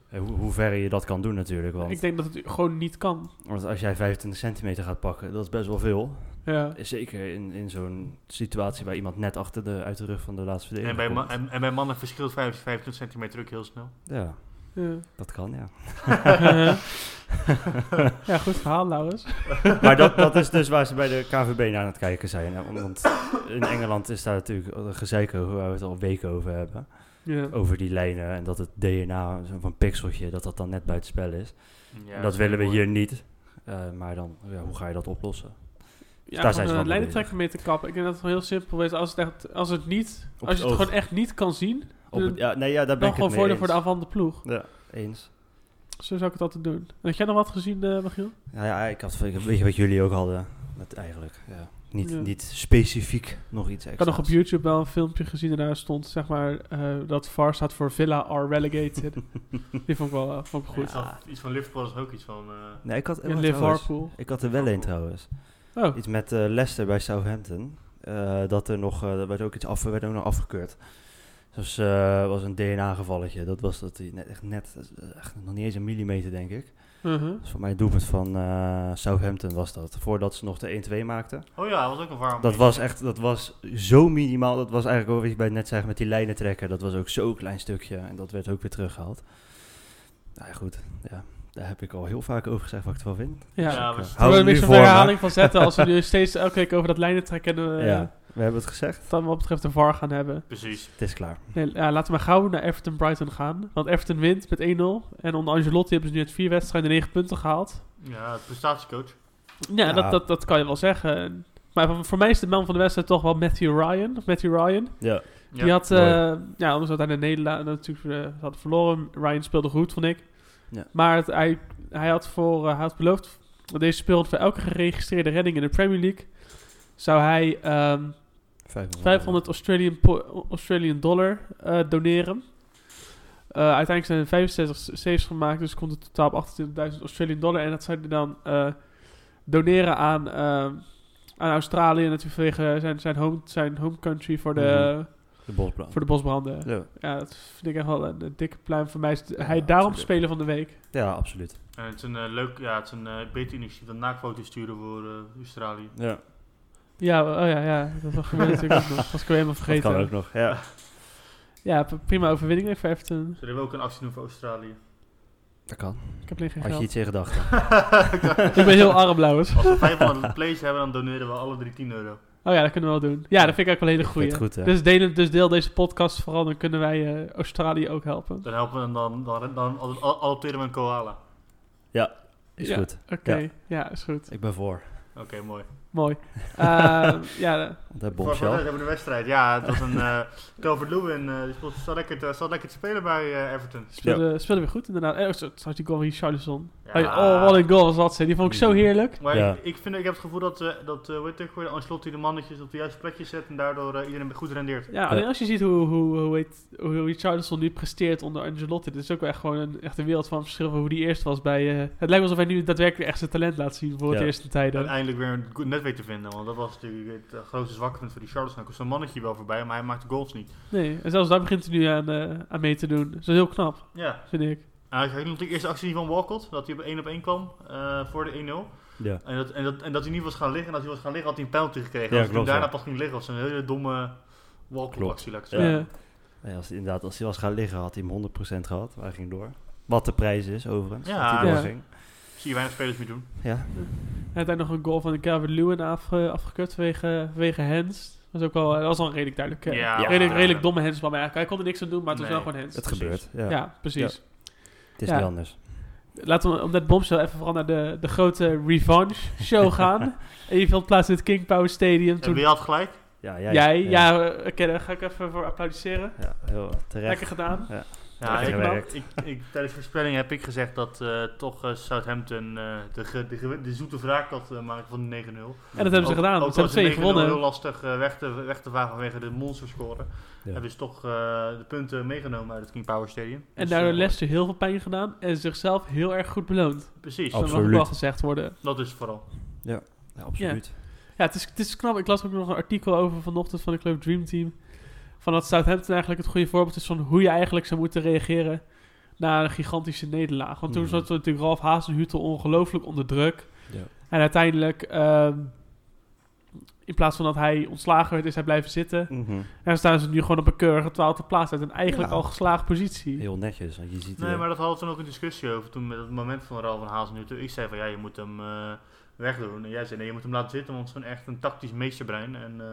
Speaker 2: Eh, Hoe, hoe ver je dat kan doen natuurlijk, want,
Speaker 1: Ik denk dat het gewoon niet kan.
Speaker 2: want als jij 25 centimeter gaat pakken, dat is best wel veel.
Speaker 1: Ja.
Speaker 2: Zeker in, in zo'n situatie waar iemand net achter de, uit de rug van de laatste
Speaker 3: en
Speaker 2: verdediger
Speaker 3: bij, ma-
Speaker 2: komt.
Speaker 3: en, en bij mannen verschilt 25 centimeter ook heel snel.
Speaker 2: Ja,
Speaker 1: Ja.
Speaker 2: Dat kan, ja.
Speaker 1: ja, goed verhaal, Laurens.
Speaker 2: maar dat, dat is dus waar ze bij de KVB naar aan het kijken zijn. hè. Want in Engeland is daar natuurlijk een gezeik over waar we het al weken over hebben.
Speaker 1: Ja.
Speaker 2: Over die lijnen en dat het DNA zo van pixeltje, dat dat dan net bij het spel is.
Speaker 3: Ja,
Speaker 2: dat
Speaker 3: is
Speaker 2: willen we
Speaker 3: mooi.
Speaker 2: hier niet. Eh, maar dan, ja, hoe ga je dat oplossen?
Speaker 1: Ja,
Speaker 2: daar zijn ze
Speaker 1: gewoon
Speaker 2: wel mee
Speaker 1: een lijnentrekker mee te kappen. Ik denk dat het gewoon heel simpel is. Als het, echt, als het niet,
Speaker 2: Op
Speaker 1: als je het
Speaker 2: het oog.
Speaker 1: gewoon echt niet kan zien,
Speaker 2: Op het- ja, nee, ja, daar ben
Speaker 1: dan gewoon
Speaker 2: ik het mee
Speaker 1: Hm. voordeel
Speaker 2: eens.
Speaker 1: voor de aanvallende ploeg.
Speaker 2: Ja, eens.
Speaker 1: Zo zou ik het altijd doen. En had jij nog wat gezien, eh Michiel?
Speaker 2: Ja, Nou ja, ik had, ik- weet je wat jullie ook hadden? Met eigenlijk, ja. Niet,
Speaker 1: Ja.
Speaker 2: niet specifiek nog iets
Speaker 1: Ik
Speaker 2: extra's.
Speaker 1: had nog op YouTube wel een filmpje gezien en daar stond zeg maar eh, dat VAR staat voor Villa are relegated. Die vond ik wel eh, vond ik goed.
Speaker 3: Iets van- Iets van Liverpool is ook iets van... eh,
Speaker 2: Nee, ik had,
Speaker 1: En
Speaker 2: trouwens,
Speaker 1: Liverpool.
Speaker 2: ik had er wel een trouwens.
Speaker 1: Oh,
Speaker 2: Iets met eh, Leicester bij Southampton. Eh, dat er nog, eh, er werd ook iets af, werd ook nog afgekeurd. Dus eh was een DNA-gevalletje. Dat was dat hij net, echt net, echt nog niet eens een millimeter, denk ik.
Speaker 1: mhm.
Speaker 2: Dat is voor mij een doelpunt van eh, Southampton was dat. Voordat ze nog de 1-2 maakten.
Speaker 3: Oh ja, dat was ook een warm.
Speaker 2: Dat was echt, dat was zo minimaal. Dat was eigenlijk ook wat je bij net zei met die lijnen trekken. Dat was ook zo'n klein stukje. En dat werd ook weer teruggehaald. Nou ja, goed. Ja, daar heb ik al heel vaak over gezegd wat ik ervan vind.
Speaker 1: ja.
Speaker 3: Ja,
Speaker 2: Ik,
Speaker 3: we
Speaker 2: eh,
Speaker 3: staan-
Speaker 1: we
Speaker 2: hou
Speaker 1: er
Speaker 2: hem nu
Speaker 1: niks van
Speaker 2: voor me.
Speaker 1: herhaling van zetten als we nu steeds elke week over dat lijnen trekken en eh,
Speaker 2: Ja, we hebben het gezegd.
Speaker 1: dan wat betreft de VAR gaan hebben.
Speaker 3: Precies.
Speaker 2: Het is klaar.
Speaker 1: Nee, ja, laten we maar gauw naar Everton Brighton gaan. Want Everton wint met 1-0. En onder Angelotti hebben ze nu uit vier wedstrijden 9 punten gehaald.
Speaker 3: Ja, prestatiecoach.
Speaker 1: Ja,
Speaker 2: Ja.
Speaker 1: Dat, dat, dat kan je wel zeggen. Maar voor mij is de man van de wedstrijd toch wel Matthew Ryan. Of Matthew Ryan.
Speaker 2: Ja.
Speaker 3: Ja.
Speaker 1: Die had,
Speaker 2: Mooi.
Speaker 1: eh, ja, omdat hij de Nederland natuurlijk eh, had verloren. Ryan speelde goed, vond ik.
Speaker 2: Ja.
Speaker 1: Maar het, hij, hij had voor, eh, hij had beloofd, dat deze speelt voor elke geregistreerde redding in de Premier League, zou hij ehm,
Speaker 2: 500.
Speaker 1: 500 Australian, po- Australian dollar eh, doneren. Eh, uiteindelijk zijn er 65 saves gemaakt, dus komt het totaal op 28.000 Australian dollar. En dat zou hij dan eh, doneren aan, eh, aan Australië, natuurlijk vanwege zijn, zijn, home, zijn home country voor de,
Speaker 2: De bosbrand.
Speaker 1: voor de bosbranden.
Speaker 2: Ja.
Speaker 1: Ja, dat vind ik echt wel een, een dikke pluim voor mij. Is het-
Speaker 2: Ja,
Speaker 1: hij daarom
Speaker 2: absoluut.
Speaker 1: spelen van de week.
Speaker 2: ja, absoluut.
Speaker 3: En het is een eh, leuk, ja, het is een eh, beter initiatief dan naakfoto's sturen voor eh, Australië.
Speaker 2: Ja,
Speaker 1: Ja, oh ja, ja. Dat gebeurt natuurlijk ook nog. Was ik weer helemaal
Speaker 2: dat kan ook
Speaker 1: vergeten.
Speaker 2: nog. Ja.
Speaker 1: Ja, p- prima overwinning weer voor Everton.
Speaker 3: Zullen we ook een actie doen voor Australië?
Speaker 2: Dat kan.
Speaker 1: Ik heb alleen geen
Speaker 2: Had je
Speaker 1: geld.
Speaker 2: iets in gedachten?
Speaker 1: Ik ben heel arm, Lauwers.
Speaker 3: Als we 500 plays hebben, dan doneren we alle drie 10 euro.
Speaker 1: Oh ja, dat kunnen we wel doen. Ja, dat vind ik ook wel een hele
Speaker 2: Vind het
Speaker 1: goeie.
Speaker 2: goed, hè?
Speaker 1: Dus, deel, dus deel deze podcast vooral, dan kunnen wij eh, Australië ook helpen.
Speaker 3: Dan helpen we hem dan, dan, dan ad- ad- adopteren we een koala.
Speaker 2: Is
Speaker 1: Ja,
Speaker 2: goed.
Speaker 1: Oké, ja. is goed.
Speaker 2: Ik ben voor.
Speaker 3: Oké, mooi.
Speaker 1: Mooi. Ehm, ja, eh,
Speaker 2: Want dat
Speaker 3: Voor, voor de rest
Speaker 2: bombshell.
Speaker 3: hebben we de wedstrijd. Ja, het was een eh Calvert-Lewin. eh, die speelt- zat lekker, te, zat lekker te spelen bij eh, Everton.
Speaker 1: speelde, speelde weer goed inderdaad. Eh, zo- trouwens, die goal van Richarlison.
Speaker 3: Ja.
Speaker 1: Oh, wat een goal was dat. zeg. Die vond ik
Speaker 2: Mm.
Speaker 1: zo heerlijk.
Speaker 3: Maar
Speaker 2: Ja.
Speaker 3: ik, ik, vind, ik heb het gevoel dat, eh dat eh, hoe heet het ook weer, Ancelotti de mannetjes op de juiste plekjes zet en daardoor eh, iedereen goed rendeert.
Speaker 1: Ja, alleen als je ziet hoe, hoe, hoe, heet, hoe Richardson nu presteert onder Angelotti. Dit is ook wel echt gewoon een, echt een wereld van verschil van hoe die eerst was bij... eh, het lijkt alsof hij nu daadwerkelijk echt zijn talent laat zien voor het
Speaker 2: Ja.
Speaker 1: eerste tijden.
Speaker 3: Uiteindelijk weer een goed netwerk te vinden, want dat was natuurlijk het eh, grootste zwakke punt voor die Charles. Dan komt zo'n mannetje wel voorbij, maar hij maakt de goals niet.
Speaker 1: Nee, en zelfs daar begint hij nu aan, eh, aan mee te doen. Dat is heel knap,
Speaker 3: Ja,
Speaker 1: vind ik.
Speaker 3: en hij had natuurlijk eerst de actie van Walcott, dat hij op 1 op 1 kwam eh, voor de 1-0.
Speaker 2: Ja.
Speaker 3: En dat, en, dat, en dat hij niet was gaan liggen, en als hij was gaan liggen had hij een penalty gekregen.
Speaker 2: Ja,
Speaker 3: als hij
Speaker 2: klopt,
Speaker 3: daarna
Speaker 2: ja.
Speaker 3: pas ging liggen, was een hele domme Walcott-actie, laat ik het
Speaker 1: Ja.
Speaker 3: zeggen.
Speaker 2: Nee, als, hij- inderdaad, als hij was gaan liggen, had hij hem 100% gehad. Maar hij ging door. Wat de prijs is, overigens.
Speaker 3: Ja.
Speaker 2: Dat hij
Speaker 1: Ja.
Speaker 2: doorging.
Speaker 3: Zie je weinig spelers meer doen.
Speaker 2: Ja.
Speaker 1: Hij had nog een goal van de Calvert Lewin afge, afgekeurd vanwege, vanwege hands. Dat was ook wel, dat was wel een redelijk duidelijk. eh,
Speaker 3: Ja.
Speaker 1: redelijk, redelijk domme hands van mij eigenlijk. Hij kon er niks aan doen, maar het was
Speaker 3: Nee.
Speaker 1: wel gewoon hands.
Speaker 2: Het
Speaker 3: Precies.
Speaker 2: gebeurt. Ja.
Speaker 1: Ja, precies.
Speaker 2: Het is
Speaker 1: Ja.
Speaker 2: niet anders.
Speaker 1: Laten we om dat bombshell even vooral naar de, de grote revenge show gaan. Evenveld plaats in het King Power Stadium.
Speaker 3: En
Speaker 1: Toen
Speaker 3: wie had gelijk?
Speaker 2: Ja,
Speaker 1: jij,
Speaker 2: jij.
Speaker 1: ja, eh, oké, daar ga ik even voor applaudisseren.
Speaker 2: Ja, heel terecht.
Speaker 1: Lekker gedaan.
Speaker 3: Ja,
Speaker 2: Lekker
Speaker 3: ik,
Speaker 2: gewerkt.
Speaker 3: ik, ik, tijdens de voorspelling heb ik gezegd dat eh, toch eh, Southampton eh, de, ge- de, ge- de zoete wraak had eh, maken van de 9-0.
Speaker 1: En dat hebben ze
Speaker 3: Ook-
Speaker 1: gedaan. Ze hebben
Speaker 3: Ook al is de
Speaker 1: twee
Speaker 3: 9-0
Speaker 1: gewonnen.
Speaker 3: heel lastig eh, weg, te, weg te vagen vanwege de monsterscoren.
Speaker 2: Ja.
Speaker 3: Hebben ze toch eh, de punten meegenomen uit het King Power Stadium.
Speaker 1: En
Speaker 3: Dus,
Speaker 1: daardoor
Speaker 3: eh,
Speaker 1: Leicester heel veel pijn gedaan en zichzelf heel erg goed beloond.
Speaker 3: Precies,
Speaker 1: Dat mag ook
Speaker 2: Absoluut.
Speaker 1: wel gezegd worden.
Speaker 3: dat is het vooral.
Speaker 2: Ja, absoluut.
Speaker 1: Ja, het is, het is knap. Ik las ook nog een artikel over vanochtend van de Club Dream Team. Van dat Southampton eigenlijk het goede voorbeeld is van hoe je eigenlijk zou moeten reageren na een gigantische nederlaag. Want toen
Speaker 2: Mhm.
Speaker 1: zat natuurlijk Ralf Hasenhutel ongelooflijk onder druk.
Speaker 2: Ja.
Speaker 1: En uiteindelijk ehm, in plaats van dat hij ontslagen werd, is hij blijven zitten.
Speaker 2: Mhm.
Speaker 1: En staan ze nu gewoon op een keurige twaalfde plaats uit. Een eigenlijk
Speaker 2: Ja.
Speaker 1: al geslaagde positie.
Speaker 2: Heel netjes, want je ziet...
Speaker 3: Nee,
Speaker 2: eh,
Speaker 3: maar dat hadden we toen ook een discussie over. Toen met het moment van Raal van Hazen Ik zei van ja, je moet hem eh, wegdoen. En jij zei nee, je moet hem laten zitten, want het is gewoon echt een tactisch meesterbrein. En eh,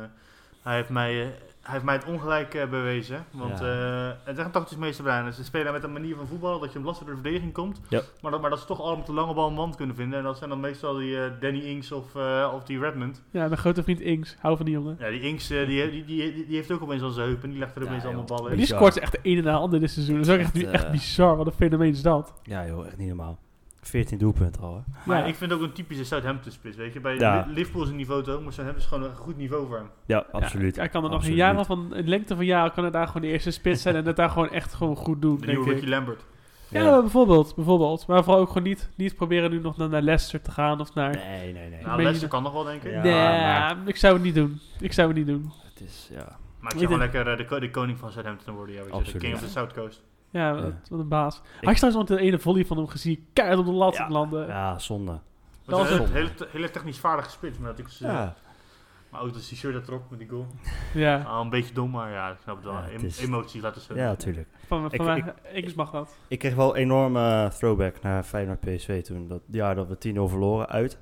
Speaker 3: hij, heeft mij, eh, hij heeft mij het ongelijk eh, bewezen. Want
Speaker 2: Ja.
Speaker 3: eh, het is echt een tactisch meesterbrein. En ze spelen met een manier van voetballen dat je hem lastig door de verdediging komt.
Speaker 2: Ja.
Speaker 3: Maar, dat, maar dat ze toch allemaal de lange bal een wand kunnen vinden. En dat zijn dan meestal die eh, Danny Inks of, eh, of die Redmond.
Speaker 1: Ja, mijn grote vriend Inks. Hou van die jongen.
Speaker 3: Ja, die Inks eh, die, die, die, die heeft ook opeens al zijn heup en die legt er
Speaker 2: Ja,
Speaker 3: opeens allemaal
Speaker 2: joh.
Speaker 3: ballen
Speaker 1: Maar die
Speaker 3: in.
Speaker 2: Bizar.
Speaker 1: scoort echt de ene na de andere dit seizoen. Dat is ook echt,
Speaker 2: Echt,
Speaker 1: echt
Speaker 2: eh,
Speaker 1: bizar. Wat een fenomeen is dat.
Speaker 2: Ja joh, echt niet normaal. 14 doelpunten al, hè.
Speaker 3: Maar
Speaker 1: Ja.
Speaker 3: ik vind het ook een typische Southampton spits, weet je. Bij
Speaker 2: Ja.
Speaker 3: Li- Liverpool is een niveau te hoog, maar Southampton is gewoon een goed niveau voor hem.
Speaker 2: Ja, absoluut.
Speaker 1: Hij kan er nog een
Speaker 2: Absoluut.
Speaker 1: jaren van, een lengte van jaren, kan hij daar gewoon de eerste spits zijn en het daar gewoon echt gewoon goed doen.
Speaker 3: De
Speaker 1: denk
Speaker 3: nieuwe Nou,
Speaker 1: ik.
Speaker 3: Ricky Lambert.
Speaker 1: Ja, bijvoorbeeld, bijvoorbeeld. Maar vooral ook gewoon niet, niet proberen nu nog naar, naar Leicester te gaan of naar...
Speaker 2: Nee, nee, nee.
Speaker 1: meen
Speaker 3: Nou,
Speaker 1: je
Speaker 3: Leicester
Speaker 1: dat-
Speaker 3: kan nog wel, denk ik.
Speaker 2: Ja,
Speaker 1: nee,
Speaker 2: maar-
Speaker 1: ik zou het niet doen. Ik zou het niet doen.
Speaker 2: Het is, ja.
Speaker 3: Maar ik
Speaker 1: Ik
Speaker 3: zou gewoon lekker eh, de, ko- de koning van Southampton worden, ja, weet je. De
Speaker 2: Absoluut.
Speaker 3: king of the South Coast.
Speaker 1: Ja,
Speaker 2: Ja.
Speaker 1: wat, wat een baas. Hij staat zo'n ene volley van hem gezien, keihard op de lat
Speaker 2: Ja.
Speaker 1: landen.
Speaker 2: Ja, zonde.
Speaker 3: Dat
Speaker 1: was
Speaker 3: was een
Speaker 2: zonde.
Speaker 3: hele, te- hele technisch vaardig spits, maar, dat ik, ze-
Speaker 2: Ja.
Speaker 3: maar ook dat die shirt dat trok met die goal.
Speaker 1: Ja,
Speaker 3: Ah, een beetje dom, maar ja, ik snap het wel.
Speaker 2: Ja, het
Speaker 3: Em-
Speaker 2: is-
Speaker 3: Emoties laten ze.
Speaker 2: Ja, tuurlijk.
Speaker 1: van, van
Speaker 2: Ik-
Speaker 1: mij,
Speaker 2: ik-
Speaker 1: Inks mag dat.
Speaker 2: Ik kreeg wel een enorme eh, throwback naar Feyenoord PSV toen. Dat jaar dat we 10-0 verloren uit.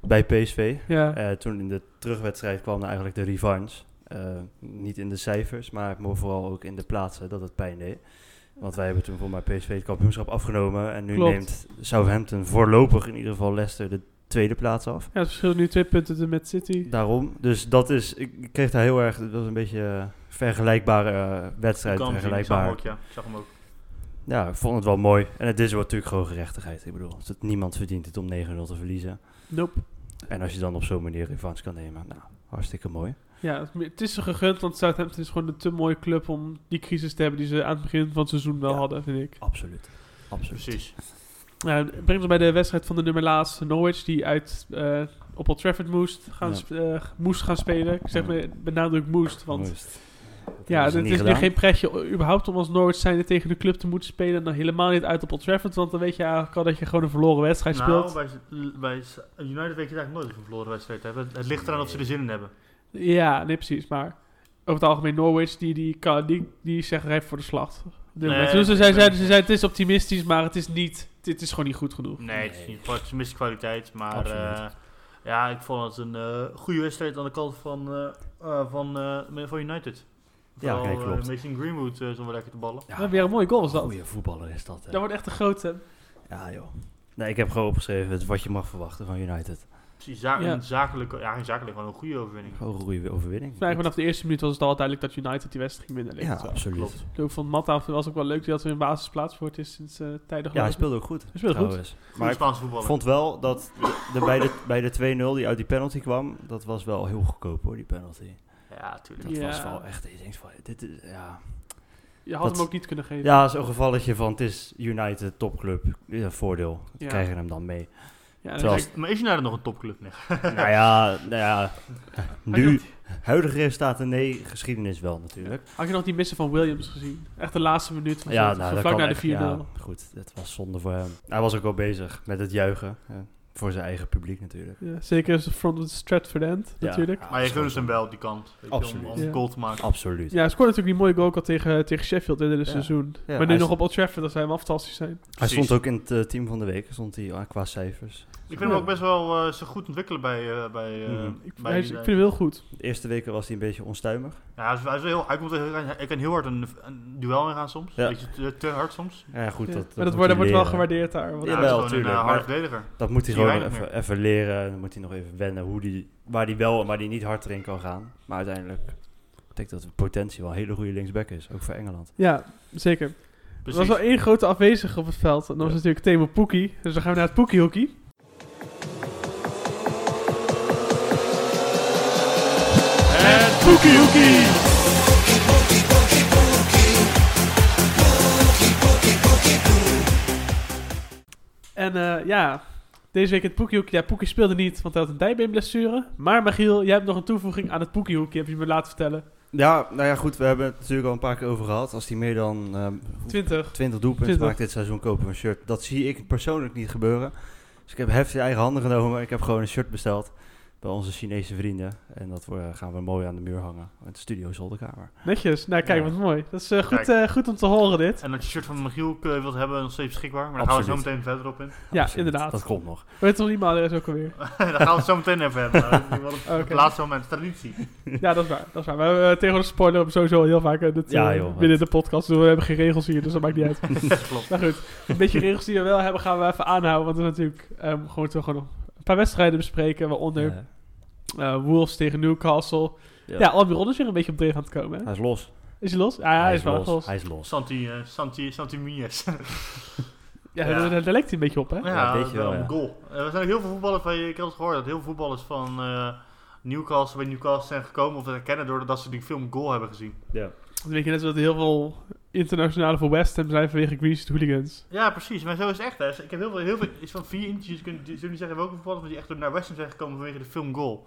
Speaker 2: Bij PSV.
Speaker 1: Ja,
Speaker 2: Eh, toen in de terugwedstrijd kwam dan eigenlijk de revanche. Eh, niet in de cijfers, maar mo- vooral ook in de plaatsen dat het pijn deed. Want wij hebben toen voor mij PSV het kampioenschap afgenomen. En nu
Speaker 1: Klopt.
Speaker 2: neemt Southampton voorlopig in ieder geval Leicester de tweede plaats af.
Speaker 1: ja het verschilt nu twee punten te- met City.
Speaker 2: Daarom. Dus dat is, ik kreeg daar heel erg, dat was een beetje eh, vergelijkbare eh,
Speaker 3: Die
Speaker 2: wedstrijd.
Speaker 3: kans, ik zag hem
Speaker 2: vergelijkbaar.
Speaker 3: ook, ja. Ik zag hem ook.
Speaker 2: Ja, ik vond het wel mooi. En het is wel natuurlijk gewoon gerechtigheid. Ik bedoel, het- niemand verdient het om 9-0 te verliezen.
Speaker 1: Nope.
Speaker 2: En als je dan op zo'n manier revanche kan nemen, nou, hartstikke mooi.
Speaker 1: Ja, het- het is ze gegund, want Southampton is gewoon een te mooie club om die crisis te hebben die ze aan het begin van het seizoen wel
Speaker 2: Ja.
Speaker 1: hadden, vind ik.
Speaker 2: Absoluut. Absoluut.
Speaker 3: Precies.
Speaker 1: Ja, het brengt ons bij de wedstrijd van de nummer laatst. Norwich, die uit eh, op Old Trafford moest gaan,
Speaker 2: Ja.
Speaker 1: sp- eh, moest gaan spelen. Ik zeg
Speaker 2: Ja.
Speaker 1: met benadruk moest, want
Speaker 2: Moest. Dat
Speaker 1: ja,
Speaker 2: hebben ze
Speaker 1: het
Speaker 2: niet
Speaker 1: is nu
Speaker 2: gedaan.
Speaker 1: geen pretje o- überhaupt om als Norwich zijnde tegen de club te moeten spelen. En dan helemaal niet uit op Old Trafford, want dan weet je eigenlijk al dat je gewoon een verloren wedstrijd
Speaker 3: Nou,
Speaker 1: speelt.
Speaker 3: bij, bij United weet je eigenlijk nooit of ze een verloren wedstrijd hebben. Het, het ligt eraan of ze er zin in hebben.
Speaker 1: Ja, nee precies, maar over het algemeen Norwich, die, die, kan, die, die zegt rijp voor de slacht.
Speaker 3: Nee,
Speaker 1: Nee, dus ze
Speaker 3: ik
Speaker 1: zei,
Speaker 3: ben-
Speaker 1: ze zei, het is optimistisch, maar het is niet, dit is gewoon niet goed genoeg.
Speaker 3: Nee, het is
Speaker 2: Nee.
Speaker 3: niet kwart, ze mist kwaliteit, maar
Speaker 2: Absoluut.
Speaker 3: eh, ja, ik vond het een eh, goede wedstrijd aan de kant van, eh, eh, van, eh, van United.
Speaker 2: Ja,
Speaker 3: Vooral,
Speaker 2: kijk,
Speaker 3: eh,
Speaker 2: klopt.
Speaker 3: Mason Greenwood eh zonder lekker te ballen.
Speaker 2: Ja,
Speaker 1: Maar weer een mooie goal was dat.
Speaker 2: Goeie eh. voetballer is dat, hè.
Speaker 1: Dat wordt echt een grote.
Speaker 2: Ja, joh. Nee, ik heb gewoon opgeschreven het- wat je mag verwachten van United.
Speaker 3: Precies, za-
Speaker 1: Ja.
Speaker 3: een zakelijke, ja, geen zakelijke, gewoon een goede overwinning.
Speaker 2: Gewoon een goede overwinning.
Speaker 1: Maar eigenlijk vanaf de eerste minuut was het al duidelijk dat United die wedstrijd ging winnen. leek
Speaker 2: ja,
Speaker 1: het wel.
Speaker 2: absoluut.
Speaker 3: Klopt.
Speaker 1: Dus ik vond Matta was ook wel leuk dat hij in basisplaats voor het is sinds eh tijden
Speaker 2: Ja, hij
Speaker 1: geleden.
Speaker 2: speelde ook goed. Hij
Speaker 1: speelde goed.
Speaker 2: Maar
Speaker 3: Maar
Speaker 2: ik
Speaker 3: Spaanse voetballer.
Speaker 2: vond wel dat de, de- bij de, bij de 2-0 die uit die penalty kwam, dat was wel heel goedkoop hoor, die penalty.
Speaker 3: Ja, tuurlijk.
Speaker 2: Dat
Speaker 1: Ja.
Speaker 2: was wel echt, ik denk van, dit is, ja.
Speaker 1: Je had
Speaker 2: dat-
Speaker 1: hem ook niet kunnen geven.
Speaker 2: Ja, zo'n gevalletje van het is United topclub, ja, voordeel.
Speaker 1: Ja.
Speaker 2: Krijgen hem dan mee.
Speaker 1: Ja, en
Speaker 2: terwijl-
Speaker 1: hij-
Speaker 3: Is- Maar is United nog een topclub? Nee.
Speaker 2: nou ja, nou ja, nu, huidige resultaten nee, geschiedenis wel natuurlijk.
Speaker 1: had je nog die missen van Williams gezien? Echt de laatste minuut. Van
Speaker 2: Ja,
Speaker 1: zo-
Speaker 2: nou,
Speaker 1: zo
Speaker 2: dat
Speaker 1: vlak
Speaker 2: kan
Speaker 1: naar de 4-0.
Speaker 2: echt, ja, goed, het was zonde voor hem. Hij was ook wel bezig met het juichen, hè, voor zijn eigen publiek natuurlijk.
Speaker 1: Ja, zeker als de front of Stratford End,
Speaker 2: Ja.
Speaker 1: natuurlijk.
Speaker 2: Ja,
Speaker 3: Maar je
Speaker 2: dat
Speaker 3: gunt
Speaker 2: was
Speaker 3: hem wel die kant. weet je,
Speaker 2: Absoluut.
Speaker 3: Om, om
Speaker 1: Ja.
Speaker 3: goal te maken.
Speaker 2: Absoluut.
Speaker 1: Ja, hij scoorde natuurlijk die mooie goal ook al tegen, tegen Sheffield in het
Speaker 2: Ja.
Speaker 1: seizoen.
Speaker 2: Ja,
Speaker 1: maar nu
Speaker 2: hij
Speaker 1: nog
Speaker 2: is-
Speaker 1: op Old Trafford, dat zijn wel fantastisch zijn.
Speaker 2: Hij
Speaker 3: Precies.
Speaker 2: stond ook in het eh, team van de week, stond hij ah, qua cijfers.
Speaker 3: Ik vind hem ook best wel eh, zich goed ontwikkelen bij... eh bij, eh
Speaker 2: Mhm.
Speaker 1: Ik,
Speaker 3: bij
Speaker 1: hij is- ik vind hem heel goed.
Speaker 2: De eerste weken was hij een beetje onstuimig.
Speaker 3: Ja, hij, is, hij, is wel heel, hij, komt, wel heel- hij kan heel hard een, een duel ingaan soms.
Speaker 2: Ja.
Speaker 3: Beetje te, te hard soms.
Speaker 2: Ja, goed,
Speaker 1: Ja.
Speaker 2: dat,
Speaker 1: maar dat wordt,
Speaker 2: moet hij
Speaker 1: dat wordt wel
Speaker 2: leren.
Speaker 1: gewaardeerd daar. want-
Speaker 2: Ja,
Speaker 3: Ja,
Speaker 2: wel,
Speaker 3: wel, is gewoon een
Speaker 2: tuurlijk,
Speaker 3: eh,
Speaker 2: maar-
Speaker 3: harde verdediger.
Speaker 2: Dat moet hij
Speaker 3: Zie je
Speaker 2: gewoon
Speaker 3: weinig
Speaker 2: even, even leren. En dan moet hij nog even wennen hoe die, waar hij wel en waar hij niet hard erin kan gaan. Maar uiteindelijk ik denk dat de potentie wel een hele goede linksback is. Ook voor Engeland.
Speaker 1: Ja, zeker.
Speaker 3: Precies.
Speaker 1: Er was wel één grote afwezige op het veld. En dat was natuurlijk Temo Poekie. Dus dan gaan we naar het Poekie-hockey.
Speaker 3: Het
Speaker 2: Eh,
Speaker 3: Boekie Hoekie!
Speaker 1: En eh, ja, deze week het Poekiehoekje. Ja, Poekie speelde niet, want hij had een dijbeenblessure. Maar Michiel, jij hebt nog een toevoeging aan het Poekiehoekje, heb je me laten vertellen.
Speaker 2: Ja, nou ja, goed. We hebben het natuurlijk al een paar keer over gehad. Als hij meer dan ehm,
Speaker 1: 20.
Speaker 2: 20 doelpunten
Speaker 1: 20.
Speaker 2: maakt dit seizoen, kopen we een shirt. Dat zie ik persoonlijk niet gebeuren. Dus ik heb heftig eigen handen genomen. Ik heb gewoon een shirt besteld. bij onze Chinese vrienden. En dat we, gaan we mooi aan de muur hangen. Met de studio zolderkamer.
Speaker 1: Netjes. Nou, kijk,
Speaker 2: Ja.
Speaker 1: wat mooi. Dat is eh, goed,
Speaker 3: Kijk.
Speaker 1: eh, goed om te horen, dit.
Speaker 3: En dat je shirt van Michiel eh, wilt hebben, nog steeds beschikbaar. Maar daar gaan we
Speaker 2: Absoluut.
Speaker 3: zo meteen verder op in.
Speaker 1: Ja,
Speaker 2: Absoluut.
Speaker 1: inderdaad.
Speaker 2: Dat komt nog.
Speaker 1: Weet toch niet, maar is ook alweer.
Speaker 3: daar gaan we het zo meteen even hebben. Dat is wel het- Het
Speaker 1: Oké.
Speaker 3: laatste moment, traditie.
Speaker 1: Ja, dat is waar. Dat is waar. We hebben eh, tegenwoordig spoiler op sowieso heel vaak eh, dit,
Speaker 2: Ja,
Speaker 1: eh,
Speaker 2: joh,
Speaker 1: binnen de podcast. Dus we hebben geen regels hier, dus dat maakt niet uit.
Speaker 3: Klopt.
Speaker 1: Maar goed, een beetje regels die we wel hebben gaan we even aanhouden. Want we hebben natuurlijk ehm, gewoon, toch gewoon nog een paar wedstrijden bespreken. Waaronder
Speaker 2: Ja.
Speaker 1: eh, Wolves tegen Newcastle. Ja,
Speaker 2: Ja.
Speaker 1: Almiron is weer een beetje op dreef aan het komen. hè?
Speaker 2: Hij is los.
Speaker 1: Is hij los? Ah, Ja, hij, is, wel los.
Speaker 2: Hij is los.
Speaker 3: Santi, eh, Santi, Santi Mies. ja,
Speaker 1: Ja,
Speaker 3: Ja.
Speaker 1: Daar, daar lijkt hij een beetje op, hè?
Speaker 2: een
Speaker 3: dat
Speaker 2: beetje wel,
Speaker 3: wel
Speaker 2: ja.
Speaker 3: een goal. Eh, er zijn ook heel veel voetballers van, ik had het gehoord, dat heel veel voetballers van eh, Newcastle bij Newcastle zijn gekomen of dat herkennen doordat ze die film Goal hebben gezien.
Speaker 2: Ja.
Speaker 1: Dan weet je net zo dat er heel veel internationale voor West Ham zijn vanwege Greece hooligans.
Speaker 3: Ja, precies. Maar zo is het echt. Hè. Ik heb heel veel, heel veel is van vier interviews kunnen die- zullen die zeggen welke voetballers van die echt door naar West Ham zijn gekomen vanwege de film Goal.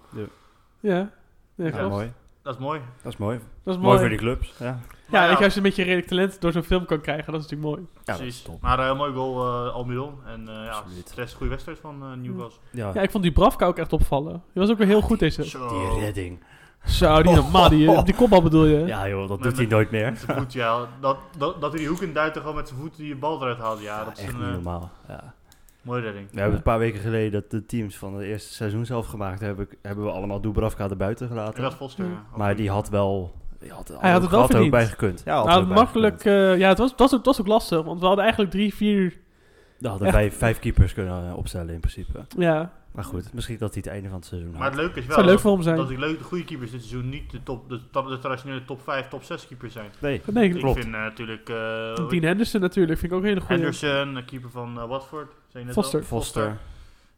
Speaker 1: Ja, ja,
Speaker 2: Ja,
Speaker 1: klopt.
Speaker 2: mooi.
Speaker 3: Dat is mooi.
Speaker 2: Dat is mooi.
Speaker 1: Dat is
Speaker 2: Mooi
Speaker 1: mooi.
Speaker 2: voor die clubs. Ja.
Speaker 1: ja,
Speaker 3: Maar
Speaker 1: en als je een beetje redelijk talent door zo'n film kan krijgen, dat is natuurlijk mooi.
Speaker 2: Ja, dat is
Speaker 3: precies.
Speaker 2: top.
Speaker 3: maar eh, een mooi goal eh Almiron. En eh ja,
Speaker 2: Absoluut.
Speaker 3: de rest goede wedstrijd van eh, Newcastle.
Speaker 2: Ja.
Speaker 1: Ja, ik vond die Bravka ook echt opvallen. Die was ook weer heel goed deze.
Speaker 3: Zo.
Speaker 2: Die redding.
Speaker 1: Zo, die normaal, die, eh, die kopbal bedoel je?
Speaker 2: Oh. Ja joh, dat
Speaker 3: Met-
Speaker 2: doet hij nooit meer.
Speaker 3: Met zijn voet, ja. Dat, dat, dat hij die hoek in duikt en gewoon met zijn voet die bal eruit haalt. Ja, dat is
Speaker 2: echt
Speaker 3: een
Speaker 2: niet
Speaker 3: eh,
Speaker 2: normaal. Ja.
Speaker 3: mooie redding.
Speaker 2: We hebben een paar weken geleden dat de teams van het eerste seizoen zelf gemaakt hebben, hebben we allemaal Dubravka erbuiten
Speaker 3: En
Speaker 2: gelaten.
Speaker 3: dat Foster. eh,
Speaker 1: Ja.
Speaker 3: ja.
Speaker 2: maar die had wel. Die had,
Speaker 1: Hij had het wel
Speaker 2: er ook
Speaker 1: verdiend.
Speaker 2: bij gekund. Ja, had er
Speaker 1: nou,
Speaker 2: ook bij
Speaker 1: makkelijk. eh, ja, het was, het, was ook, het was ook lastig, want we hadden eigenlijk drie, vier.
Speaker 2: gekund. Daar hadden wij vijf keepers kunnen eh, opstellen in principe.
Speaker 1: Ja,
Speaker 2: Maar goed, misschien dat hij het einde van het seizoen
Speaker 3: Maar het
Speaker 2: had.
Speaker 3: leuke is
Speaker 1: het
Speaker 3: wel
Speaker 1: zou leuk
Speaker 3: dat-
Speaker 1: voor hem zijn.
Speaker 3: dat die leuke, de goede keepers dit seizoen niet de, top, de, top- de traditionele top 5, top 6 keepers zijn.
Speaker 2: Nee,
Speaker 1: Nee,
Speaker 3: Ik
Speaker 2: klopt.
Speaker 3: vind eh, natuurlijk eh,
Speaker 1: Dean Henderson natuurlijk, vind ik ook een hele goede.
Speaker 3: Henderson, de keeper van eh, Watford. Zei je net
Speaker 1: Foster.
Speaker 3: al?
Speaker 2: Foster.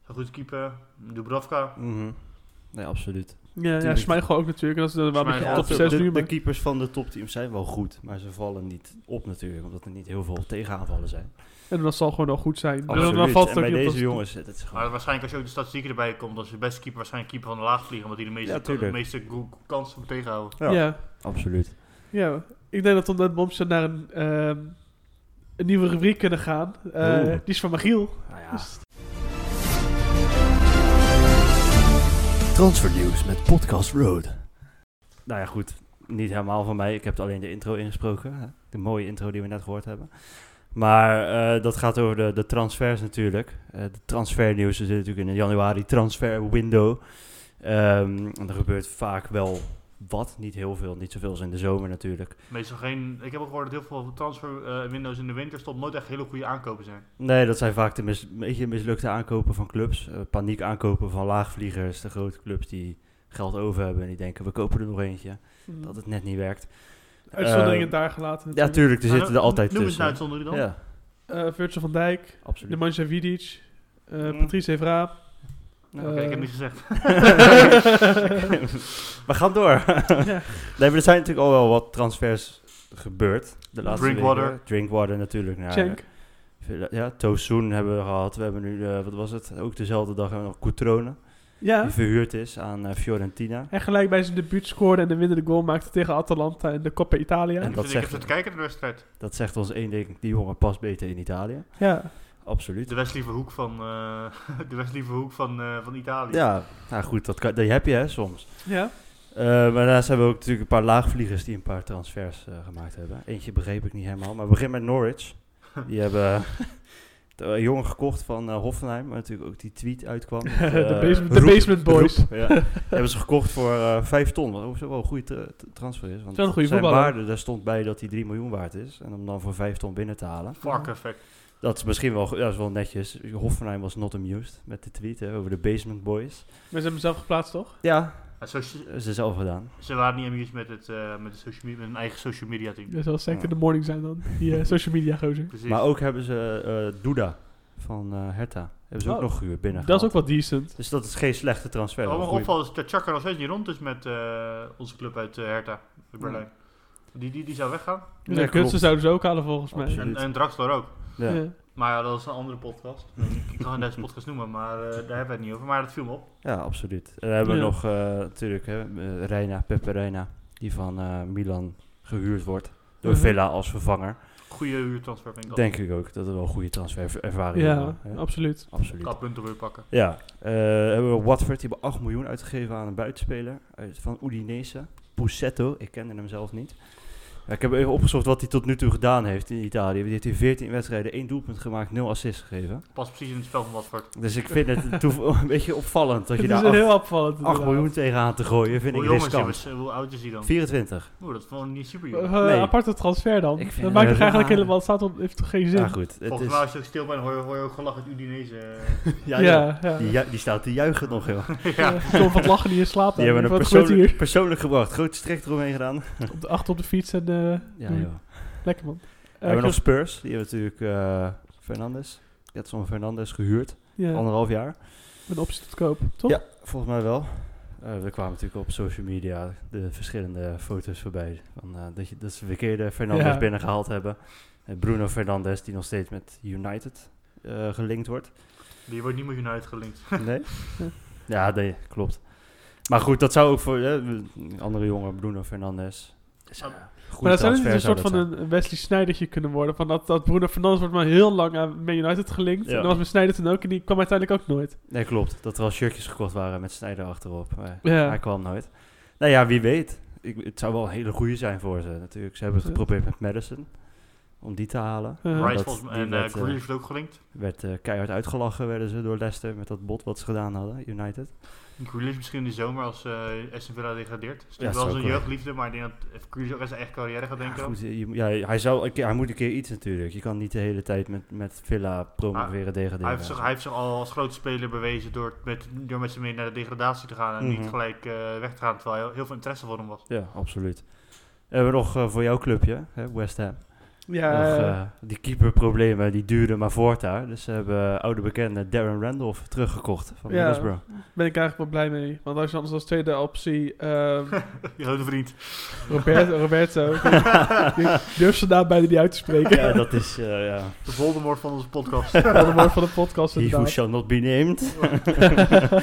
Speaker 3: Een goede keeper. Dubravka.
Speaker 2: Mhm. Nee, absoluut.
Speaker 1: Ja, ja Schmeichel ook natuurlijk. En dat is eh, dan wel een beetje
Speaker 3: Schmeichel
Speaker 1: top
Speaker 3: ook.
Speaker 1: 6
Speaker 2: de,
Speaker 1: nu.
Speaker 2: de
Speaker 1: Maar
Speaker 2: keepers van de topteams zijn wel goed, maar ze vallen niet op natuurlijk, omdat er niet heel veel tegenaanvallen zijn.
Speaker 1: en dat zal gewoon wel goed zijn. Dus
Speaker 2: Absoluut.
Speaker 1: dan valt
Speaker 2: en
Speaker 1: het
Speaker 2: bij
Speaker 1: ook niet op
Speaker 2: deze
Speaker 1: dat-
Speaker 2: jongens, het is gewoon
Speaker 3: Maar waarschijnlijk als je ook de statistieken erbij komt, als je beste keeper waarschijnlijk keeper van de laagvlieger, omdat die de
Speaker 2: Ja,
Speaker 3: meeste,
Speaker 2: tuurlijk.
Speaker 3: de meeste go- kansen moet tegenhouden.
Speaker 2: Ja.
Speaker 1: Ja.
Speaker 2: absoluut.
Speaker 1: Ja, ik denk dat we omdat Bompje naar een, ehm, een nieuwe rubriek kunnen gaan. Eh,
Speaker 2: Oeh.
Speaker 1: die is van Magiel.
Speaker 2: Nou ja.
Speaker 1: Dus-
Speaker 2: Transfernieuws met Podcast Road. Nou ja, goed. Niet helemaal van mij. Ik heb alleen de intro ingesproken. hè. De mooie intro die we net gehoord hebben. Maar eh, dat gaat over de, de transfers natuurlijk. Eh, de transfernieuws. We zitten natuurlijk in een januari transfer window. Ehm, en er gebeurt vaak wel wat. Niet heel veel. Niet zoveel als in de zomer natuurlijk.
Speaker 3: Meestal geen, ik heb ook gehoord dat heel veel transfer eh, windows in de winter stond nooit echt hele goede aankopen zijn.
Speaker 2: Nee, dat zijn vaak de mis, een beetje mislukte aankopen van clubs. Eh, paniek aankopen van laagvliegers. De grote clubs die geld over hebben. En die denken, we kopen er nog eentje. Dat het net niet werkt.
Speaker 1: Uitzonderingen
Speaker 2: Eh,
Speaker 1: daar gelaten.
Speaker 2: Ja,
Speaker 1: natuurlijk.
Speaker 2: tuurlijk, er zitten er altijd
Speaker 3: Nou, Noem eens nou een
Speaker 2: tussen.
Speaker 3: uitzondering dan.
Speaker 2: Ja,
Speaker 1: Eh, Virgil van Dijk,
Speaker 2: absoluut.
Speaker 1: Nemanja Vidic, eh,
Speaker 2: Mm.
Speaker 1: Patrice Evra.
Speaker 3: Nou,
Speaker 1: Eh,
Speaker 3: Oké, ik heb niks gezegd.
Speaker 2: We gaan door.
Speaker 1: Ja.
Speaker 2: Nee, maar er zijn natuurlijk al wel wat transfers gebeurd. De laatste
Speaker 3: Drinkwater.
Speaker 2: weken. Drinkwater natuurlijk. Naar,
Speaker 1: Cenk.
Speaker 2: Ja, Tosun hebben we gehad. We hebben nu, eh, wat was het? Ook dezelfde dag hebben we nog Coutrone.
Speaker 1: Ja,
Speaker 2: Die verhuurd is aan eh, Fiorentina.
Speaker 1: en gelijk bij zijn debuut scoorde en de winnende goal maakte tegen Atalanta in de Coppa Italia.
Speaker 2: En-
Speaker 3: ik
Speaker 2: dat
Speaker 3: vind- ik
Speaker 2: zegt-
Speaker 3: heb te kijken naar de wedstrijd.
Speaker 2: Dat zegt ons één ding, die jongen past beter in Italië.
Speaker 1: Ja,
Speaker 2: Absoluut.
Speaker 3: De Westlieve Hoek van, eh, de Westlieve Hoek van, eh, van Italië.
Speaker 2: Ja, nou goed, dat, kan, die heb je hè, soms.
Speaker 1: ja.
Speaker 2: Eh, maar daarnaast hebben we ook natuurlijk een paar laagvliegers die een paar transfers eh, gemaakt hebben. Eentje begreep ik niet helemaal, maar we beginnen met Norwich. Die hebben de- een jongen gekocht van eh, Hoffenheim, waar natuurlijk ook die tweet uitkwam. met, eh,
Speaker 1: de, basement, de
Speaker 2: roep-
Speaker 1: basement Boys.
Speaker 2: roep, ja. Die hebben ze gekocht voor eh 5 ton, wat ook zo wel een goede tra- tra- transfer is. Want
Speaker 1: Wel een goede
Speaker 2: zijn
Speaker 1: voetballer.
Speaker 2: waarde, daar stond bij dat hij 3 miljoen waard is. En om dan voor 5 ton binnen te halen.
Speaker 3: Vark effect.
Speaker 2: Dat is misschien wel, go- ja, dat is wel netjes. Hoffenheim was not amused met de tweet hè, over de Basement Boys.
Speaker 1: Maar ze hebben hem zelf geplaatst, toch?
Speaker 2: Ja,
Speaker 3: Ja, socia-
Speaker 2: ze zelf gedaan.
Speaker 3: ze waren niet amused met, het, eh, met, de social media, met hun eigen social media team.
Speaker 1: Dat zal zeker de morning zijn dan. Die eh, social media gozer.
Speaker 3: Precies.
Speaker 2: Maar ook hebben ze eh Duda van eh Hertha. Hebben ze ook
Speaker 1: Oh,
Speaker 2: nog gehuurd binnen.
Speaker 1: Dat is ook
Speaker 2: gehaald.
Speaker 1: wel Oh, decent.
Speaker 2: Dus dat is geen slechte transfer.
Speaker 3: Wat
Speaker 2: wel
Speaker 3: me
Speaker 2: een goeie-
Speaker 3: opvalt is dat Chaka nog steeds niet rond is met eh, onze club uit eh, Hertha, uit Berlijn. Die, die, die zou weggaan.
Speaker 1: Dus
Speaker 2: Nee,
Speaker 1: de kunsten
Speaker 2: klopt.
Speaker 1: zouden ze ook halen volgens mij.
Speaker 2: Absoluut.
Speaker 3: En, en Draxler ook.
Speaker 2: Ja.
Speaker 1: Ja.
Speaker 3: Maar ja, dat is een andere podcast. ik ik kan deze podcast noemen, maar eh, daar hebben we het niet over. Maar dat viel me op.
Speaker 2: Ja, absoluut. En dan hebben we
Speaker 1: Ja.
Speaker 2: nog eh, natuurlijk hè, eh, Reina, Pepe Reina, die van eh, Milan gehuurd wordt door
Speaker 1: Mhm.
Speaker 2: Villa als vervanger.
Speaker 3: goede huurtransfer vind ik
Speaker 2: Denk ik ook dat het wel een goede transferervaring
Speaker 1: Ja,
Speaker 2: is.
Speaker 1: absoluut.
Speaker 2: absoluut.
Speaker 3: Kan punten weer pakken.
Speaker 2: Ja, eh, hebben we Watford, die hebben 8 miljoen uitgegeven aan een buitenspeler uit, van Udinese. Pusetto, ik kende hem zelf niet. Ja, ik heb even opgezocht wat hij tot nu toe gedaan heeft in Italië. Die heeft in 14 wedstrijden 1 doelpunt gemaakt, 0 assists gegeven.
Speaker 3: Pas precies in het spel van Watford.
Speaker 2: Dus ik vind het toe- een beetje opvallend dat je
Speaker 1: Het is
Speaker 2: daar
Speaker 1: heel
Speaker 2: 8,
Speaker 1: opvallend. inderdaad.
Speaker 2: miljoen tegenaan te gooien, vind
Speaker 3: Hoe
Speaker 2: ik
Speaker 3: jong is hij?
Speaker 2: riskant.
Speaker 3: Wat- Hoe oud is hij dan?
Speaker 2: 24.
Speaker 3: Oeh, dat is gewoon niet super jong.
Speaker 1: Eh,
Speaker 2: Nee.
Speaker 1: Aparte transfer dan.
Speaker 2: Ik vind
Speaker 1: dat
Speaker 2: het
Speaker 1: maakt toch
Speaker 2: raar.
Speaker 1: eigenlijk helemaal... Het staat op, heeft toch geen zin?
Speaker 2: Ja, Ah, goed. Het
Speaker 3: Volgens
Speaker 2: is,
Speaker 3: mij als je ook stil bent hoor je, hoor je ook gelach uit Udinese. eh.
Speaker 2: ja, ja.
Speaker 1: ja. ja.
Speaker 2: Die, ju- die staat te juichen nog, heel.
Speaker 1: Ja. Ik kom van het lachen niet in slaap.
Speaker 2: Die
Speaker 1: dan.
Speaker 2: hebben hem
Speaker 1: Wat gebeurt
Speaker 2: persoonlijk,
Speaker 1: hier?
Speaker 2: persoonlijk gebracht. Grote strek eromheen gedaan.
Speaker 1: Op de, achter op de fiets en... eh,
Speaker 2: Ja,
Speaker 1: doei.
Speaker 2: joh.
Speaker 1: Lekker man. Eh,
Speaker 2: We Eh, hebben nog Spurs. Die hebben natuurlijk eh Fernandes. Getson Fernandes gehuurd.
Speaker 1: ja,
Speaker 2: Anderhalf jaar.
Speaker 1: een optie tot koop, toch?
Speaker 2: Ja, volgens mij wel. Eh, we kwamen natuurlijk op social media de verschillende foto's voorbij. Van, eh, dat, je, dat ze verkeerde Fernandes
Speaker 1: Ja.
Speaker 2: binnengehaald hebben. En Bruno Fernandes, die nog steeds met United eh, gelinkt wordt.
Speaker 3: Die wordt niet meer United gelinkt.
Speaker 2: Nee? ja, nee, klopt. Maar goed, dat zou ook voor eh, een andere jongen, Bruno Fernandes. Dus, eh,
Speaker 3: Ah,
Speaker 2: goede
Speaker 1: Maar dat zou niet
Speaker 2: transfer
Speaker 1: een soort
Speaker 2: dat
Speaker 1: van een Wesley Snijdertje kunnen worden. Van dat, dat Bruno Fernandes wordt maar heel lang aan Man United gelinkt.
Speaker 2: Ja.
Speaker 1: En dan was met Snijder toen ook. En die kwam uiteindelijk ook nooit.
Speaker 2: Nee, klopt. Dat er al shirtjes gekocht waren met Snijder achterop. Maar
Speaker 1: Ja.
Speaker 2: hij kwam nooit. Nou ja, wie weet. Ik, het zou wel een hele goede zijn voor ze natuurlijk. Ze hebben het
Speaker 1: Ja.
Speaker 2: geprobeerd met Madison. Om die te halen.
Speaker 1: Eh,
Speaker 2: Right.
Speaker 3: Rice
Speaker 2: dat-
Speaker 3: volgens mij
Speaker 2: die
Speaker 3: en eh,
Speaker 2: werd, eh,
Speaker 3: Grealish werd ook gelinkt.
Speaker 2: Werd eh, keihard uitgelachen werden ze door Leicester met dat bot wat ze gedaan hadden, United.
Speaker 3: Grealish misschien in de zomer als eh Aston Villa degradeert. Dus
Speaker 2: Ja,
Speaker 3: ja, wel
Speaker 2: zou
Speaker 3: zijn
Speaker 2: kunnen.
Speaker 3: jeugdliefde, maar ik denk dat Grealish ook aan zijn echt carrière gaat denken.
Speaker 2: Goed, je- ja, hij, zou, een keer- hij moet een keer iets natuurlijk. Je kan niet de hele tijd met, met Villa promoveren, degraderen.
Speaker 3: Ah, Hij heeft, zich, hij heeft zich al als grote speler bewezen door met, door met z'n mee naar de degradatie te gaan en
Speaker 2: Mhm.
Speaker 3: niet gelijk eh, weg te gaan, terwijl heel, heel veel interesse voor hem was.
Speaker 2: Ja, absoluut. Hebben we nog eh, voor jouw clubje, hè, West Ham.
Speaker 1: Ja,
Speaker 2: Nog,
Speaker 1: eh,
Speaker 2: eh, die keeperproblemen die duurden maar voort daar. Dus ze hebben eh, oude bekende Darren Randolph teruggekocht van
Speaker 1: Ja.
Speaker 2: Middlesbrough.
Speaker 1: ben ik eigenlijk wel blij mee. Want als je anders als tweede optie ehm
Speaker 3: Je grote vriend.
Speaker 1: Robert, Roberto. Ik ik durf zijn naam bijna niet uit te spreken.
Speaker 2: Ja, dat is, eh ja,
Speaker 3: De Voldemort van onze podcast.
Speaker 1: Van de woord van de podcast
Speaker 2: he who
Speaker 1: inderdaad.
Speaker 2: shall not be named.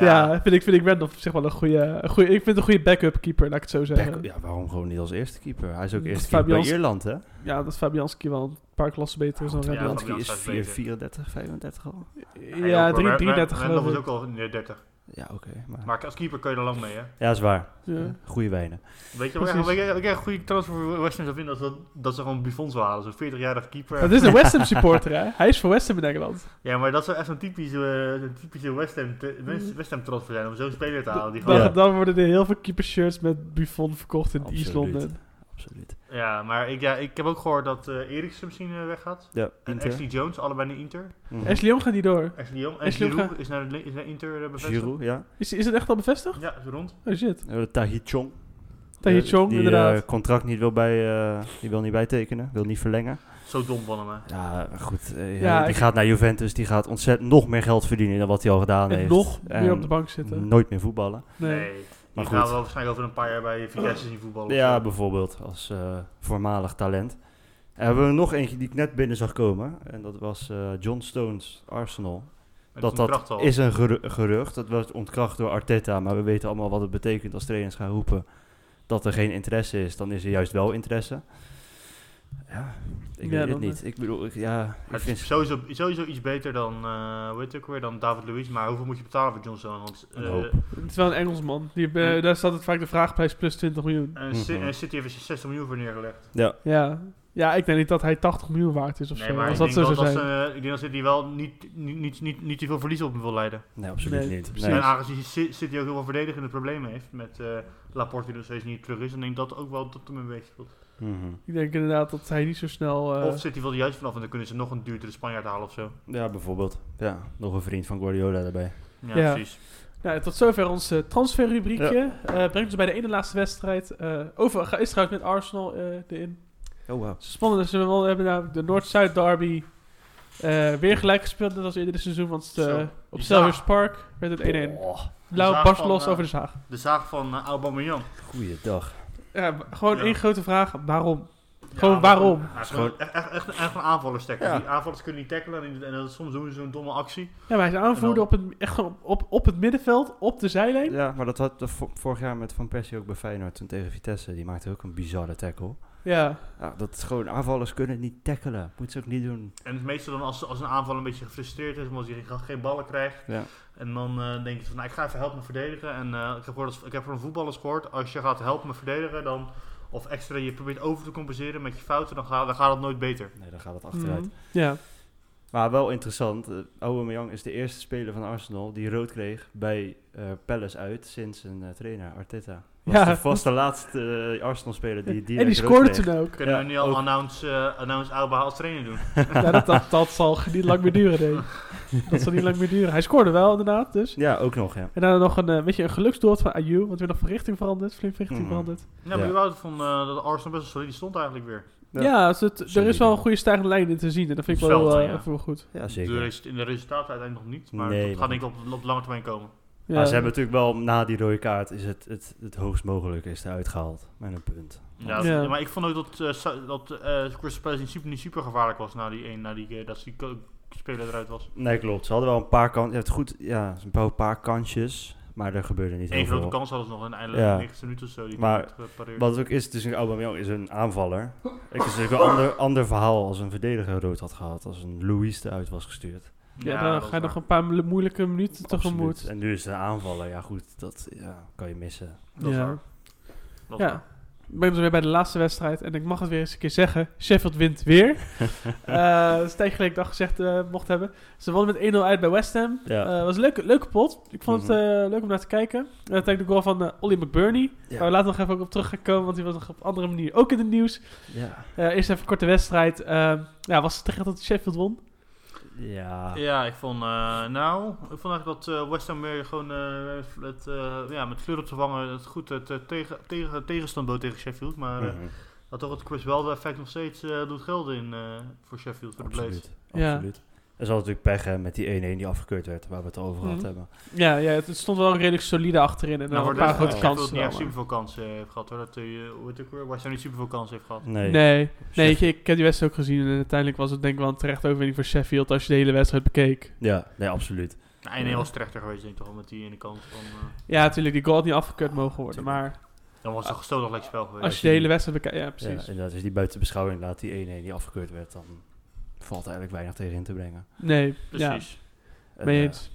Speaker 1: ja, vind ik, vind ik Randolph op zich wel een goede, een goede... Ik vind het een goede backup keeper, laat ik het zo zeggen.
Speaker 2: Beck- ja, waarom gewoon niet als eerste keeper? Hij is ook
Speaker 1: Dat
Speaker 2: eerste keeper bij
Speaker 1: Fabianski-
Speaker 2: Ierland, hè?
Speaker 1: Ja, dat Fabianski wel een paar klassen beter is dan
Speaker 2: Ja,
Speaker 3: Fabianski
Speaker 1: Randolph.
Speaker 2: Fabianski is
Speaker 3: is
Speaker 2: 4,
Speaker 3: beter.
Speaker 2: 34, 35 al.
Speaker 3: Hey,
Speaker 1: Ja,
Speaker 3: ook
Speaker 1: drie-
Speaker 3: Robert-
Speaker 1: 33
Speaker 3: Randolph
Speaker 1: geloof
Speaker 3: is
Speaker 1: ik.
Speaker 3: ook al in de 30.
Speaker 2: Ja, oké. maar...
Speaker 3: Maar als keeper kun je er lang mee, hè?
Speaker 2: Ja, is waar.
Speaker 1: Ja.
Speaker 2: Goeie wijnen.
Speaker 3: Weet je wat ik
Speaker 1: Precies.
Speaker 3: echt- weet je wat ik echt een goede transfer voor West Ham zou vinden? Dat, dat, dat ze gewoon Buffon zou halen. Zo'n 40-jarige keeper.
Speaker 1: Dat is een West Ham supporter, hè? Hij is voor West Ham in Engeland.
Speaker 3: Ja, maar dat zou echt zo'n typische, eh, zo'n typische West Ham, te- West- West Ham transfer zijn. Om zo'n speler te halen. Die
Speaker 1: Dan,
Speaker 3: gewoon,
Speaker 2: Ja.
Speaker 3: ja.
Speaker 1: dan worden er heel veel keepershirts met Buffon verkocht in
Speaker 2: Absoluut.
Speaker 1: East London.
Speaker 2: Absoluut.
Speaker 3: maar ik, ja, ik heb ook gehoord dat eh Eriksen misschien eh, weggaat.
Speaker 2: Ja,
Speaker 3: En
Speaker 2: Inter.
Speaker 3: Ashley Jones, allebei naar Inter.
Speaker 2: Mhm.
Speaker 1: Ashley Young gaat niet door.
Speaker 3: Ashley Young. En
Speaker 1: Ashley
Speaker 3: Giroud is naar, de- is naar Inter eh, bevestigd.
Speaker 2: Giroud, ja.
Speaker 1: Is, is het echt al bevestigd?
Speaker 3: Ja, is rond.
Speaker 1: Oh shit.
Speaker 2: Eh, Tahir Chong.
Speaker 1: Tahir
Speaker 2: Eh,
Speaker 1: Chong,
Speaker 2: die, eh,
Speaker 1: inderdaad.
Speaker 2: contract niet wil, bij, eh, die wil niet bijtekenen, wil niet verlengen.
Speaker 3: Zo dom van hem, hè.
Speaker 2: Ja, goed. eh,
Speaker 1: Ja,
Speaker 2: die
Speaker 1: ik-
Speaker 2: gaat naar Juventus. Die gaat ontzettend nog meer geld verdienen dan wat hij al gedaan
Speaker 1: En
Speaker 2: heeft.
Speaker 1: nog
Speaker 2: En Mm.
Speaker 1: meer op de bank zitten.
Speaker 2: Nooit meer voetballen.
Speaker 1: Nee.
Speaker 2: Maar
Speaker 3: Die gaan
Speaker 2: goed.
Speaker 3: we waarschijnlijk over een paar jaar bij Vitesse zien voetballen.
Speaker 2: Ja,
Speaker 3: Of zo.
Speaker 2: bijvoorbeeld als eh, voormalig talent. En hebben we nog eentje die ik net binnen zag komen. En dat was eh, John Stones Arsenal.
Speaker 3: En
Speaker 2: Dat
Speaker 3: toen bracht
Speaker 2: dat
Speaker 3: al.
Speaker 2: is een geru- gerucht. Dat werd ontkracht door Arteta. Maar we weten allemaal wat het betekent als trainers gaan roepen dat er geen interesse is. Dan is er juist wel interesse. Ja, ik
Speaker 1: Ja,
Speaker 2: weet het
Speaker 1: dan, eh.
Speaker 2: niet. Ik bedoel, ik, ja, ik
Speaker 3: Het
Speaker 2: vind
Speaker 3: is sowieso, sowieso iets beter dan, eh hoe heet het ook weer, dan David Luiz. Maar hoeveel moet je betalen voor Johnson? Want
Speaker 2: Een
Speaker 3: eh,
Speaker 2: hoop.
Speaker 1: Het is wel een Engelsman. Die, eh, daar staat het vaak de vraagprijs plus 20 miljoen.
Speaker 3: en Ci-
Speaker 2: Mhm.
Speaker 3: en City heeft er 60 miljoen voor neergelegd.
Speaker 1: Ja. Ja, ik denk niet dat hij 80 miljoen waard is of
Speaker 3: Nee,
Speaker 1: zo.
Speaker 3: maar
Speaker 1: Als
Speaker 3: ik
Speaker 1: dat
Speaker 3: denk,
Speaker 1: zo
Speaker 3: wel
Speaker 1: zou
Speaker 3: dat
Speaker 1: zijn.
Speaker 3: ze, eh, ik denk dat City wel niet, niet, niet, niet, niet te veel verlies op hem wil leiden.
Speaker 2: Nee, absoluut
Speaker 1: Nee,
Speaker 2: niet.
Speaker 1: precies.
Speaker 2: Nee.
Speaker 3: En aangezien Ci- City ook heel veel verdedigende problemen heeft met eh, Laporte die nog steeds niet terug is, dan denk ik dat ook wel dat hem een beetje speelt.
Speaker 2: Mhm.
Speaker 1: Ik denk inderdaad dat hij niet zo snel... eh,
Speaker 3: Of City wil er juist vanaf en dan kunnen ze nog een duurdere Spanjaard halen of zo.
Speaker 2: Ja, bijvoorbeeld. Ja, nog een vriend van Guardiola daarbij.
Speaker 3: Ja,
Speaker 1: Ja.
Speaker 3: precies.
Speaker 1: Nou, tot zover ons eh, transferrubriekje. Eh, brengt ons bij de ene laatste wedstrijd. Eh over ga- is trouwens met Arsenal eh erin.
Speaker 2: Oh, wow.
Speaker 1: Spannend is wel, we hebben namelijk de Noord-Zuid derby eh, weer gelijk gespeeld net als eerder dit seizoen. Want eh,
Speaker 3: Zo.
Speaker 1: op
Speaker 3: Ja.
Speaker 1: Selhurst Park werd het 1-1. Blauw
Speaker 3: Zaag
Speaker 1: barst
Speaker 3: van,
Speaker 1: los
Speaker 3: eh,
Speaker 1: over de zaag.
Speaker 3: De zaak van uh, Aubameyang.
Speaker 2: Goeiedag.
Speaker 1: Ja, maar gewoon
Speaker 3: ja.
Speaker 1: één grote vraag. Waarom? Gewoon waarom?
Speaker 3: Ja, het is gewoon echt, echt, echt, echt een aanvallerstekker. Die aanvallers kunnen niet tackelen en, en dan soms doen ze zo'n domme actie.
Speaker 1: Ja, maar hij is aanvoerder op het, echt gewoon op, op, op het middenveld, op de zijlijn.
Speaker 2: Ja, maar dat had dat vo- vorig jaar met Van Persie ook bij Feyenoord toen tegen Vitesse. Die maakte ook een bizarre tackle.
Speaker 1: Ja,
Speaker 2: Ja, dat is gewoon aanvallers kunnen niet tackelen. Moeten ze ook niet doen.
Speaker 3: En het meeste dan als, als een aanval een beetje gefrustreerd is, omdat hij geen, geen ballen krijgt.
Speaker 2: Ja.
Speaker 3: En dan eh, denk je van, nou, ik ga even helpen me verdedigen. En eh, ik, heb gehoord, als- ik heb van voetballers gehoord, als je gaat helpen me verdedigen, dan, of extra je probeert over te compenseren met je fouten, dan, ga, dan gaat het nooit beter.
Speaker 2: Nee, dan gaat het achteruit.
Speaker 1: Mhm. ja.
Speaker 2: Maar wel interessant. eh, Aubameyang is de eerste speler van Arsenal die rood kreeg bij eh Palace uit sinds een eh, trainer, Arteta. Was
Speaker 1: Ja.
Speaker 2: de vaste laatste eh, Arsenal-speler die die
Speaker 1: en die scoorde toen ook.
Speaker 3: Kunnen
Speaker 2: Ja,
Speaker 3: we nu al
Speaker 2: ook.
Speaker 3: announce, eh, announce Alba als trainer doen?
Speaker 1: ja, dat, dat, dat zal niet lang meer duren, denk ik. Dat zal niet lang meer duren. Hij scoorde wel, inderdaad, dus.
Speaker 2: Ja, ook nog, ja.
Speaker 1: En daarna nog een, eh, beetje een geluksdoort van Ayew, want weer nog van richting veranderd, flink van richting
Speaker 2: Mhm.
Speaker 1: veranderd.
Speaker 3: Ja, maar
Speaker 2: Ja.
Speaker 3: je wou van eh, dat Arsenal best wel solide stond eigenlijk weer.
Speaker 1: Ja,
Speaker 2: Ja.
Speaker 1: dus het- er is
Speaker 2: Solide.
Speaker 1: wel een goede stijgende lijn in te zien en dat vind ik
Speaker 3: Op
Speaker 1: wel,
Speaker 3: het veld,
Speaker 1: eh,
Speaker 3: ja.
Speaker 1: even wel goed.
Speaker 2: ja
Speaker 3: De,
Speaker 2: zeker.
Speaker 3: resu- in de resultaten uiteindelijk nog niet, maar
Speaker 2: Nee,
Speaker 3: dat
Speaker 2: maar
Speaker 3: gaat denk ik op, op lange termijn komen.
Speaker 1: Ja.
Speaker 2: Maar ze hebben natuurlijk wel na die rode kaart is het, het, het hoogst mogelijke is eruit gehaald. Met een punt.
Speaker 3: Ja,
Speaker 1: Ja.
Speaker 3: dat- Maar ik vond ook dat, eh, Sa- dat eh Crystal Palace niet super, niet super gevaarlijk was na die, een, na die eh, dat die ko- speler eruit was.
Speaker 2: Nee, klopt. Ze hadden wel een paar kansen. Je hebt goed, ja, een paar- paar kansjes. Maar er gebeurde niet
Speaker 3: Eén
Speaker 2: heel
Speaker 3: grote
Speaker 2: veel.
Speaker 3: kans hadden ze nog in eindelijk
Speaker 2: Ja.
Speaker 3: de 90 minuten of zo. Die
Speaker 2: Maar-
Speaker 3: werd gepareerd.
Speaker 2: Wat het ook is, dus Aubameyang is een aanvaller. Ik is natuurlijk een ander, ander verhaal als een verdediger rood had gehad. Als een Louis eruit was gestuurd.
Speaker 1: Ja,
Speaker 3: dat
Speaker 1: dan
Speaker 3: is
Speaker 1: ga je nog
Speaker 3: waar.
Speaker 1: een paar mo- moeilijke minuten tegemoet.
Speaker 2: Absoluut. En nu is de aanvaller. Ja goed, dat ja, kan je missen.
Speaker 3: Dat is
Speaker 1: Ja.
Speaker 3: waar. Dat is
Speaker 1: Ja.
Speaker 3: waar.
Speaker 1: Ik ben dus weer bij de laatste wedstrijd en ik mag het weer eens een keer zeggen. Sheffield wint weer. Eh dat is tijd geleden dat ik dat gezegd eh, mocht hebben. Ze wonnen met 1-0 uit bij West Ham.
Speaker 2: Ja.
Speaker 1: Eh, was een leuke, leuke pot. Ik vond
Speaker 3: Mhm.
Speaker 1: het eh, leuk om naar te kijken. Uh, ik de goal van eh, Ollie McBurney.
Speaker 2: Ja.
Speaker 1: Waar we later nog even ook op terug gaan komen, want die was nog op andere manier ook in het nieuws.
Speaker 2: Ja,
Speaker 1: Eh, eerst even een korte wedstrijd. Eh, ja, was het terecht dat Sheffield won?
Speaker 2: ja.
Speaker 3: Ja, ik vond, eh, nou, ik vond eigenlijk dat eh, West Ham weer gewoon eh, het, eh, ja, met kleur op te vangen het goed het, eh, tegen, tegen, tegenstand bood tegen Sheffield. Maar eh,
Speaker 2: Mhm.
Speaker 3: dat toch het Chris Welde effect nog steeds eh, doet gelden in, eh, voor Sheffield, voor de Blades.
Speaker 2: Absoluut.
Speaker 1: Ja.
Speaker 2: Absoluut. Er zal natuurlijk pech hè, met die 1-1 die afgekeurd werd, waar we het over gehad
Speaker 1: Mhm.
Speaker 2: hebben.
Speaker 1: Ja, ja het het stond wel redelijk solide achterin. En dan
Speaker 3: Nou,
Speaker 1: een
Speaker 3: wordt
Speaker 1: paar
Speaker 3: het
Speaker 1: grote
Speaker 3: grote kans. Dat
Speaker 1: kansen.
Speaker 3: niet
Speaker 1: wel,
Speaker 3: echt super veel kansen heeft gehad hoor. Dat hij, hoe heet het ook weer? West Ham niet super veel kansen heeft gehad.
Speaker 2: Nee.
Speaker 1: Nee, nee ik,
Speaker 2: Sheffield-
Speaker 1: ik heb die wedstrijd ook gezien. En uiteindelijk was het denk ik wel een terecht overwinning voor Sheffield als je de hele wedstrijd bekeek.
Speaker 2: Ja, nee, absoluut.
Speaker 3: Nou, en hij was terechter geweest denk ik toch wel met die ene kant. Van, eh, Ah.
Speaker 1: Ja, natuurlijk, die goal had niet afgekeurd mogen worden.
Speaker 2: Tuurlijk.
Speaker 1: Maar
Speaker 3: dan was het een gestolen gelijk spel geweest.
Speaker 1: als je de hele wedstrijd bekijkt... Ja,
Speaker 2: Ja,
Speaker 1: precies.
Speaker 2: inderdaad, als je die buiten beschouwing laat, die 1-1 die afgekeurd werd, dan valt er eigenlijk weinig tegen in te brengen.
Speaker 1: Nee,
Speaker 3: Precies.
Speaker 1: ja,
Speaker 2: En,
Speaker 1: mee
Speaker 2: eh,
Speaker 1: eens.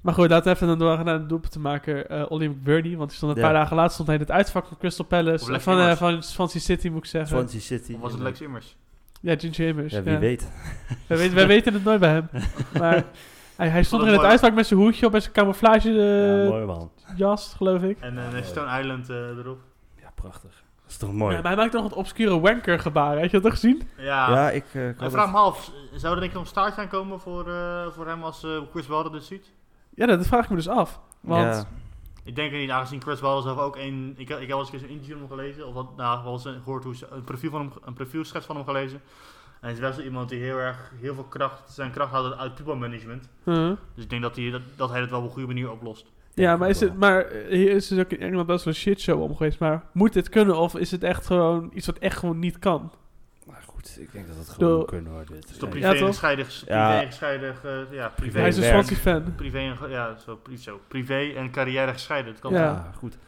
Speaker 1: Maar goed, laten we even dan doorgaan naar de doelpunt te maken. eh Ollie McBurney, want die stond een
Speaker 2: Ja.
Speaker 1: paar dagen later stond hij in het uitvak van Crystal
Speaker 3: Of
Speaker 1: Palace. eh,
Speaker 3: Lex
Speaker 1: Van, eh,
Speaker 3: Immers.
Speaker 1: van Swansea City moet ik zeggen.
Speaker 2: Swansea City.
Speaker 3: Of was het
Speaker 2: inderdaad.
Speaker 3: Lex Immers?
Speaker 1: Ja, Ginger Immers.
Speaker 2: Ja, wie
Speaker 1: ja.
Speaker 2: weet.
Speaker 1: Wij, weten, wij weten het nooit bij hem. Maar hij, hij stond er in het
Speaker 3: mooi.
Speaker 1: uitvak met zijn hoedje op en zijn camouflage eh,
Speaker 2: ja, mooi man.
Speaker 1: jas, geloof ik.
Speaker 3: En eh,
Speaker 2: mooi.
Speaker 3: Stone Island eh, erop.
Speaker 2: Ja, prachtig. Dat is toch mooi?
Speaker 1: Ja, maar hij maakte nog het obscure wanker gebaar. Heb je dat gezien?
Speaker 3: Ja.
Speaker 2: ja, ik eh, kan
Speaker 3: ik
Speaker 2: dat-
Speaker 3: vraag me af, zou er denk ik nog een staartje aan komen voor, eh, voor hem als eh, Chris Wilder dit ziet?
Speaker 1: Ja, dat vraag ik me dus af. Want
Speaker 2: Ja.
Speaker 3: Ik denk het niet, aangezien Chris Wilder zelf ook een... Ik, ik heb wel eens een keer een interview van hem gelezen, of wat, nou, wel eens een- gehoord hoe ze, een, profiel van hem, een profielschets van hem gelezen. En hij is best wel iemand die heel erg, heel veel kracht, zijn kracht haalt uit voetbalmanagement.
Speaker 1: Huh?
Speaker 3: Dus ik denk dat hij dat, dat, hij dat wel op een goede manier oplost. Dus
Speaker 1: Ja, maar, is het, maar eh, hier is het ook in Engeland best wel een shitshow om geweest. Maar moet dit kunnen of is het echt gewoon iets wat echt gewoon niet kan?
Speaker 2: Maar goed, ik denk dat het gewoon
Speaker 1: Doe-
Speaker 2: kunnen hoor. Dit.
Speaker 3: Het is toch
Speaker 1: Ja,
Speaker 3: privé
Speaker 1: toch?
Speaker 3: en scheidig,
Speaker 2: Ja.
Speaker 3: privé en scheidig, eh, ja, privé,
Speaker 1: Hij is een
Speaker 2: werk.
Speaker 1: Swansea fan.
Speaker 3: privé en, ge- ja, zo, pri- zo, privé en carrière gescheiden. Dat kan
Speaker 1: Ja.
Speaker 2: ja. goed.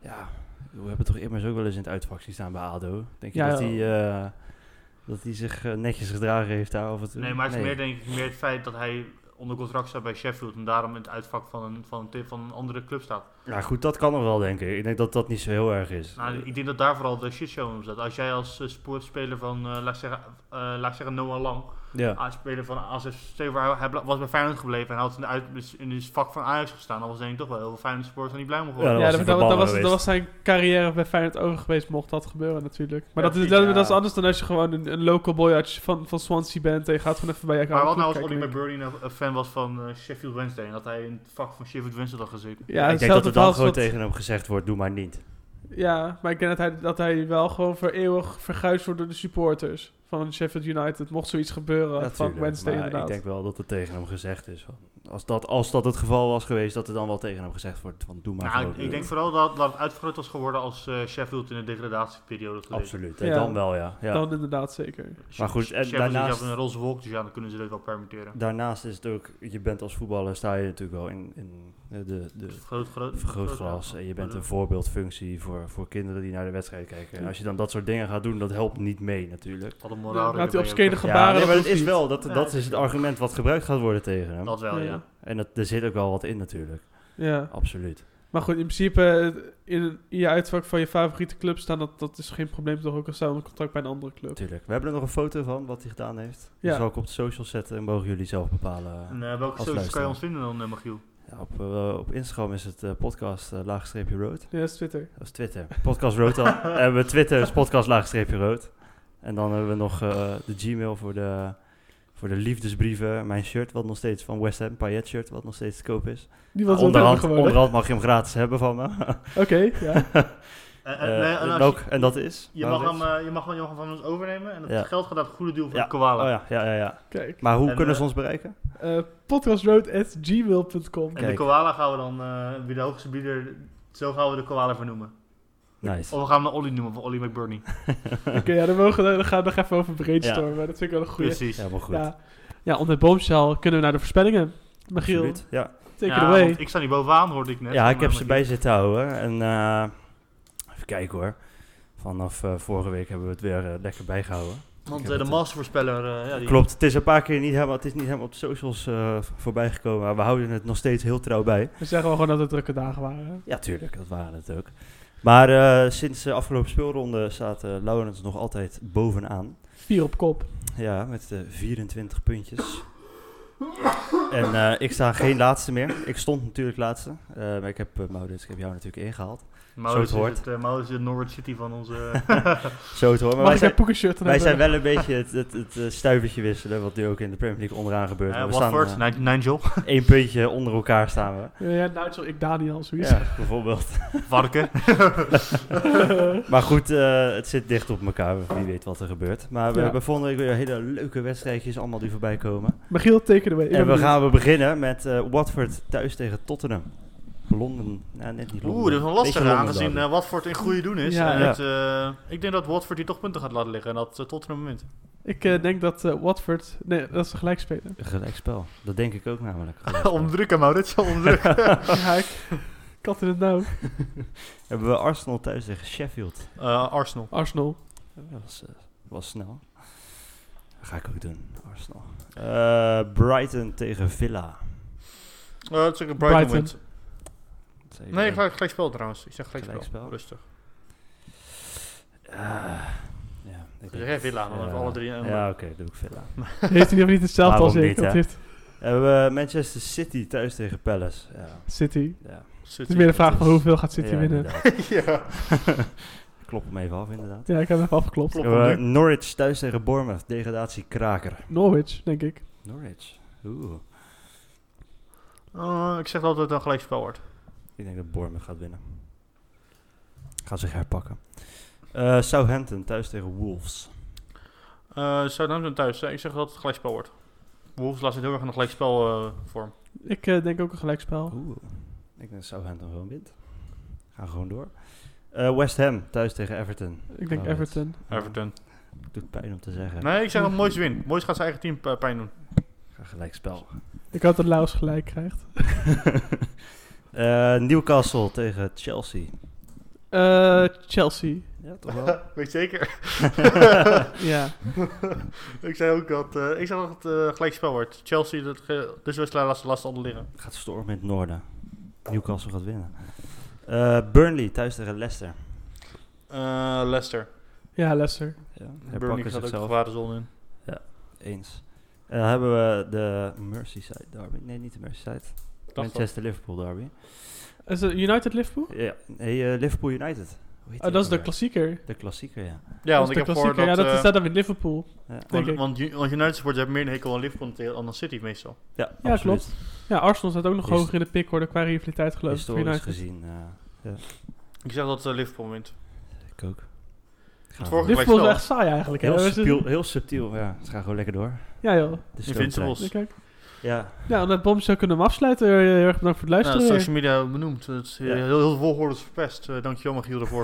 Speaker 2: Ja, we hebben toch immers ook wel eens in het uitvak zien staan bij ADO. Denk je
Speaker 1: Ja,
Speaker 2: dat
Speaker 1: ja.
Speaker 2: hij eh, dat hij zich eh, netjes gedragen heeft daar? Of het,
Speaker 3: Nee, maar het is meer denk ik meer het feit dat hij onder contract staat bij Sheffield en daarom in het uitvak van een, van een, tip van een andere club staat.
Speaker 2: Ja, Nou, goed, dat kan nog wel, denk ik. Ik denk dat dat niet zo heel erg is.
Speaker 3: Nou, ik denk dat daar vooral de shitshow om zat. Als jij als eh, sportspeler van, eh, laat, ik zeggen, eh, laat ik zeggen, Noah Lang,
Speaker 2: ja.
Speaker 3: als speler van AZ, stel je voor, hij hij bla- was bij Feyenoord gebleven en had in, de uit, in het vak van Ajax gestaan, dan was denk ik toch wel heel veel Feyenoord supporters aan die blij mogen worden.
Speaker 1: Ja,
Speaker 2: was
Speaker 1: dat,
Speaker 2: hij
Speaker 1: dat, dat
Speaker 2: verbannen
Speaker 1: was, dat
Speaker 2: geweest.
Speaker 1: was zijn carrière bij Feyenoord over geweest, mocht dat gebeuren natuurlijk. Maar dat,
Speaker 3: Ja,
Speaker 1: is,
Speaker 3: precies,
Speaker 1: dat, dat is
Speaker 2: ja.
Speaker 1: anders dan als je gewoon een, een local boy uit je- van, van Swansea bent en je gaat gewoon even bij je
Speaker 3: Maar
Speaker 1: oude
Speaker 3: wat
Speaker 1: club
Speaker 3: nou als Ollie
Speaker 1: kijken.
Speaker 3: McBurney nou een fan was van eh, Sheffield Wednesday en dat hij in het vak van Sheffield Wednesday had gezeten?
Speaker 1: Ja,
Speaker 2: ik denk dat
Speaker 1: hetzelfde verhaal
Speaker 2: er dan
Speaker 1: als
Speaker 2: gewoon
Speaker 1: wat-
Speaker 2: tegen hem gezegd wordt, doe maar niet.
Speaker 1: Ja, maar ik denk dat hij, dat hij wel gewoon voor eeuwig verguisd wordt door de supporters. van Sheffield United. Mocht zoiets gebeuren,
Speaker 2: Ja,
Speaker 1: fuck
Speaker 2: tuurlijk,
Speaker 1: Wednesday
Speaker 2: maar
Speaker 1: inderdaad.
Speaker 2: Ik denk wel dat het tegen hem gezegd is. van, Als dat, als dat het geval was geweest, dat er dan wel tegen hem gezegd wordt van doe maar.
Speaker 3: Nou,
Speaker 2: gewoon.
Speaker 3: ik, ik denk vooral dat, dat het uitvergroot was geworden als eh, Sheffield in de degradatieperiode geleden.
Speaker 2: Absoluut, hè,
Speaker 1: Ja.
Speaker 2: dan wel ja. ja.
Speaker 1: Dan inderdaad zeker.
Speaker 3: Sh-
Speaker 2: Maar goed, en
Speaker 3: Sheffield
Speaker 2: daarnaast-
Speaker 3: is een roze wolk, dus ja, dan kunnen ze dit wel permitteren.
Speaker 2: Daarnaast is het ook, je bent als voetballer, sta je natuurlijk wel in, in eh, de, de
Speaker 3: Groot, groot,
Speaker 2: vergrootglas. En je bent een voorbeeldfunctie voor, voor kinderen die naar de wedstrijd kijken. En als je dan dat soort dingen gaat doen, dat helpt niet mee natuurlijk.
Speaker 3: Wat een
Speaker 1: Ja,
Speaker 3: moraal.
Speaker 1: laat hij
Speaker 3: erbij
Speaker 1: op
Speaker 3: ook,
Speaker 1: skenen
Speaker 3: hè.
Speaker 1: gaan. Gebaren,
Speaker 2: ja, nee, maar
Speaker 1: dat
Speaker 2: het is
Speaker 1: hoeft
Speaker 2: wel, dat,
Speaker 3: Ja,
Speaker 2: dat is het argument wat gebruikt gaat worden tegen hem.
Speaker 3: Dat wel, ja.
Speaker 1: Ja.
Speaker 2: En dat, er zit ook wel wat in natuurlijk,
Speaker 1: Ja.
Speaker 2: absoluut.
Speaker 1: Maar goed, in principe eh, in, in je uitvak van je favoriete club staan, dat, dat is geen probleem toch ook al staan een contract bij een andere club.
Speaker 2: Natuurlijk. We hebben er nog een foto van, wat hij gedaan heeft. Die
Speaker 1: Ja.
Speaker 2: zal ik op de socials zetten en mogen jullie zelf bepalen.
Speaker 3: En, eh, welke
Speaker 2: Als
Speaker 3: socials kan je
Speaker 2: luisteraar.
Speaker 3: ons vinden dan, eh, Michiel?
Speaker 2: Ja, op, eh, op Instagram is het eh, podcast eh, laagstreepje road.
Speaker 1: Ja, dat is Twitter.
Speaker 2: Dat is Twitter. Podcast Rood dan. En we hebben Twitter is podcast laagstreepje rood. En dan hebben we nog eh, de Gmail voor de, voor de liefdesbrieven. Mijn shirt, wat nog steeds van West Ham, Payet shirt, wat nog steeds te koop is.
Speaker 1: Die was wel
Speaker 2: Onderhand,
Speaker 1: gewoon. hè?
Speaker 2: onderhand mag je hem gratis hebben van me.
Speaker 1: Oké, ja.
Speaker 3: En, en-
Speaker 2: Eh,
Speaker 3: Eh, nee, en
Speaker 2: en,
Speaker 3: als
Speaker 2: ook,
Speaker 3: je,
Speaker 2: en dat is?
Speaker 3: je, mag
Speaker 2: Maurits?
Speaker 3: hem, eh, je, mag, hem- je mag hem van ons overnemen en dat
Speaker 2: Ja.
Speaker 3: geld gaat naar het goede doel voor
Speaker 2: Ja.
Speaker 3: de koala.
Speaker 2: Oh ja, ja, ja, ja.
Speaker 1: Kijk.
Speaker 2: Maar hoe
Speaker 3: En,
Speaker 2: kunnen ze
Speaker 3: eh,
Speaker 2: ons bereiken?
Speaker 1: Eh podcastroad.gmail.com.
Speaker 3: En
Speaker 2: Kijk.
Speaker 3: de koala gaan we dan, eh wie de hoogste bieder, zo gaan we de koala vernoemen.
Speaker 2: Nice.
Speaker 3: Of we gaan hem naar Olly noemen, van Olly McBurney.
Speaker 1: Oké, ja, dan, mogen, we- dan gaan we nog even over brainstormen. Dat vind ik wel een goede.
Speaker 3: Precies.
Speaker 2: Ja, maar Dus, goed.
Speaker 1: Ja. ja, onder boomzaal kunnen we naar de voorspellingen. Michiel,
Speaker 2: Absoluut. Ja.
Speaker 1: take it
Speaker 3: Ja,
Speaker 1: away.
Speaker 3: want ik sta niet bovenaan, hoorde ik net.
Speaker 2: Ja, ik
Speaker 3: Maar
Speaker 2: heb ze
Speaker 3: Michiel-
Speaker 2: bij zitten houden. En eh, even kijken hoor. Vanaf eh, vorige week hebben we het weer eh, lekker bijgehouden. Ik
Speaker 3: Want
Speaker 2: heb
Speaker 3: eh, de
Speaker 2: het,
Speaker 3: mastervoorspeller, eh, ja, die
Speaker 2: Klopt, het is een paar keer niet helemaal, het is niet helemaal op de socials eh, v- voorbij gekomen. Maar we houden het nog steeds heel trouw bij.
Speaker 1: We zeggen wel gewoon dat het drukke dagen waren.
Speaker 2: Ja, tuurlijk, dat waren het ook. Maar eh, sinds de afgelopen speelronde staat eh, Laurens nog altijd bovenaan.
Speaker 1: Vier op kop.
Speaker 2: Ja, met eh, 24 puntjes. En eh, ik sta geen laatste meer. Ik stond natuurlijk laatste. Eh, maar ik heb, eh, Maurits, ik heb jou natuurlijk ingehaald.
Speaker 3: Maurits
Speaker 2: Zo het hoort.
Speaker 3: is het, eh, Maurits is de Norwich City van onze... eh,
Speaker 2: Zo het hoor. Maar
Speaker 1: Mag
Speaker 2: wij
Speaker 1: ik
Speaker 2: zijn,
Speaker 1: mijn poekenshirt dan
Speaker 2: wij
Speaker 1: hebben?
Speaker 2: zijn wel een beetje het, het, het eh, stuivertje wisselen. Wat nu ook in de Premier League onderaan gebeurt.
Speaker 3: eh
Speaker 2: we
Speaker 3: Watford,
Speaker 2: staan
Speaker 3: Nig- Nigel,
Speaker 2: eh, één puntje onder elkaar staan we.
Speaker 1: Ja, ja, Nigel, ik Daniel, zoiets.
Speaker 2: Ja, bijvoorbeeld.
Speaker 3: Varken.
Speaker 2: Maar goed, eh, het zit dicht op elkaar. Wie weet wat er gebeurt. Maar we
Speaker 1: Ja.
Speaker 2: hebben volgende week weer hele leuke wedstrijdjes allemaal die voorbij komen.
Speaker 1: Michiel, take it away. Ik ben
Speaker 2: en we
Speaker 1: benieuwd.
Speaker 2: gaan we beginnen met eh, Watford thuis tegen Tottenham. Londen, nou net niet Londen.
Speaker 3: Oeh, dat is een lastige,
Speaker 2: Beetje Londen
Speaker 3: aangezien
Speaker 2: derby.
Speaker 3: eh, Watford in goede doen is.
Speaker 1: Ja.
Speaker 3: en
Speaker 2: Ja.
Speaker 3: het, eh, ik denk dat Watford hier toch punten gaat laten liggen en dat tot Tottenham wint.
Speaker 1: Ik eh, denk dat eh, Watford... Nee, dat ze gelijk spelen.
Speaker 3: eh,
Speaker 2: Een Gelijkspel, dat denk ik ook namelijk.
Speaker 3: Omdrukken, Maurits, omdrukken.
Speaker 1: ja, ik... Kat in het nauw.
Speaker 2: Hebben we Arsenal thuis tegen Sheffield.
Speaker 3: Eh, Arsenal.
Speaker 1: Arsenal.
Speaker 2: Dat was, eh, was snel. Dat ga ik ook doen, Arsenal. Eh, Brighton tegen Villa.
Speaker 3: Eh, dat is ook een Brighton,
Speaker 1: Brighton.
Speaker 3: wint.
Speaker 2: Dat is even-
Speaker 3: Nee, gelijk, gelijk spel trouwens. Ik zeg gelijk,
Speaker 2: Gelijkspel.
Speaker 3: spel. Rustig.
Speaker 2: Eh, ja, ik
Speaker 3: Dus
Speaker 2: denk-
Speaker 3: jij Villa, dan
Speaker 2: ja.
Speaker 3: hebben we alle drie. eh, een-
Speaker 2: Ja, oké, doe ik Villa.
Speaker 1: Heeft hij nog niet hetzelfde als
Speaker 2: Waarom
Speaker 1: ik?
Speaker 2: niet,
Speaker 1: Dat
Speaker 2: hè?
Speaker 1: heeft
Speaker 2: Hebben we Manchester City thuis tegen Palace. Ja,
Speaker 1: City.
Speaker 2: ja.
Speaker 1: Het is meer de
Speaker 2: dat
Speaker 1: vraag van
Speaker 2: is-
Speaker 1: hoeveel gaat City
Speaker 2: Ja,
Speaker 1: winnen.
Speaker 2: inderdaad.
Speaker 3: ja.
Speaker 2: Klop hem even af, inderdaad.
Speaker 1: Ja, ik heb hem even afgeklopt.
Speaker 3: Klopt.
Speaker 2: Hebben we
Speaker 3: hem
Speaker 2: Norwich thuis tegen Bournemouth. Degradatie kraker.
Speaker 1: Norwich, denk ik.
Speaker 2: Norwich. Oeh.
Speaker 3: Eh, ik zeg altijd dat het een gelijk spel wordt.
Speaker 2: Ik denk dat Bournemouth gaat winnen. Gaan zich herpakken. Eh, Southampton thuis tegen Wolves.
Speaker 3: Eh Southampton thuis, hè. ik zeg dat het gelijk spel wordt. Wolves laat zich heel erg in een gelijk spel vorm.
Speaker 1: Ik eh, denk ook een gelijkspel.
Speaker 2: Oeh. Ik denk dat Southampton gewoon wint. Gaan gewoon door. Eh, West Ham thuis tegen Everton.
Speaker 1: Ik denk
Speaker 2: Oh,
Speaker 1: Everton.
Speaker 3: Everton.
Speaker 2: Doet pijn om te zeggen.
Speaker 3: Nee, ik zeg dat Moyes wint. Moyes gaat zijn eigen team eh, pijn doen.
Speaker 2: Ga Gelijk spel.
Speaker 1: Ik hoop dat Laos gelijk krijgt.
Speaker 2: Eh, Newcastle tegen Chelsea.
Speaker 1: Eh, Chelsea.
Speaker 2: Ja, toch wel?
Speaker 3: Weet zeker?
Speaker 1: Ja.
Speaker 3: ik zei ook dat, eh, ik zeg dat het eh, gelijk spel wordt. Chelsea, dat ge- dus we slaan laatste last onder liggen.
Speaker 2: Gaat storm in het noorden. Newcastle gaat winnen. Eh, Burnley thuis tegen Leicester.
Speaker 3: Eh Leicester.
Speaker 1: Ja, Leicester.
Speaker 2: Ja,
Speaker 3: Burnley
Speaker 2: herpakken
Speaker 3: gaat ook de
Speaker 2: zichzelf.
Speaker 3: zware zon in.
Speaker 2: Eens. En dan hebben we de Merseyside derby. Nee, niet de Merseyside.
Speaker 3: al.
Speaker 2: Manchester-Liverpool derby.
Speaker 1: Is het United Liverpool?
Speaker 2: Ja, nee, eh, Liverpool United. Hoe heet die
Speaker 1: Oh, dat is de
Speaker 2: ook alweer?
Speaker 1: klassieker.
Speaker 2: De klassieker, ja.
Speaker 3: Ja,
Speaker 1: dat
Speaker 3: want
Speaker 1: is
Speaker 3: ik
Speaker 1: de
Speaker 3: heb gehoord
Speaker 1: klassieker.
Speaker 3: dat...
Speaker 1: ja, dat
Speaker 3: eh,
Speaker 1: is daar dan weer Liverpool.
Speaker 2: Ja,
Speaker 1: denk
Speaker 3: want,
Speaker 1: ik.
Speaker 3: want, U- want United supporters hebben meer een hekel aan Liverpool dan aan City meestal.
Speaker 2: ja,
Speaker 1: Ja,
Speaker 2: absoluut.
Speaker 1: klopt. Ja, Arsenal staat ook nog
Speaker 2: Hist-
Speaker 1: hoger in de pick, hoor. Qua rivaliteit geloof ik. voor
Speaker 2: Historisch
Speaker 1: United.
Speaker 2: gezien, eh,
Speaker 3: Ik zeg dat eh, Liverpool wint.
Speaker 2: ik ook. Ik Gaan
Speaker 3: vorige-
Speaker 2: we.
Speaker 1: Dit
Speaker 3: gelijk
Speaker 1: voelt
Speaker 3: snel.
Speaker 1: echt saai eigenlijk. hè.
Speaker 2: heel,
Speaker 1: We zitten-
Speaker 2: subtiel, heel subtiel, ja. Het gaat gewoon lekker door.
Speaker 1: Ja joh.
Speaker 2: De
Speaker 3: Invincibles.
Speaker 1: Ja, kijk.
Speaker 2: stoomtrein. Ja,
Speaker 1: Ja, en dat bombstuk kunnen we hem afsluiten. Eh, Heel erg bedankt voor het
Speaker 3: Nou,
Speaker 1: luisteren.
Speaker 3: social media benoemd. Het is heel,
Speaker 2: Ja.
Speaker 3: heel veel volgorders verpest. Eh, dankjewel Magiel daarvoor.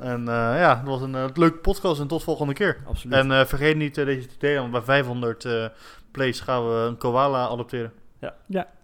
Speaker 3: en eh, ja, het was een leuk leuke podcast en tot volgende keer.
Speaker 2: absoluut.
Speaker 3: En eh, vergeet niet eh, deze te delen, want bij 500 eh, plays gaan we een koala adopteren.
Speaker 1: Ja,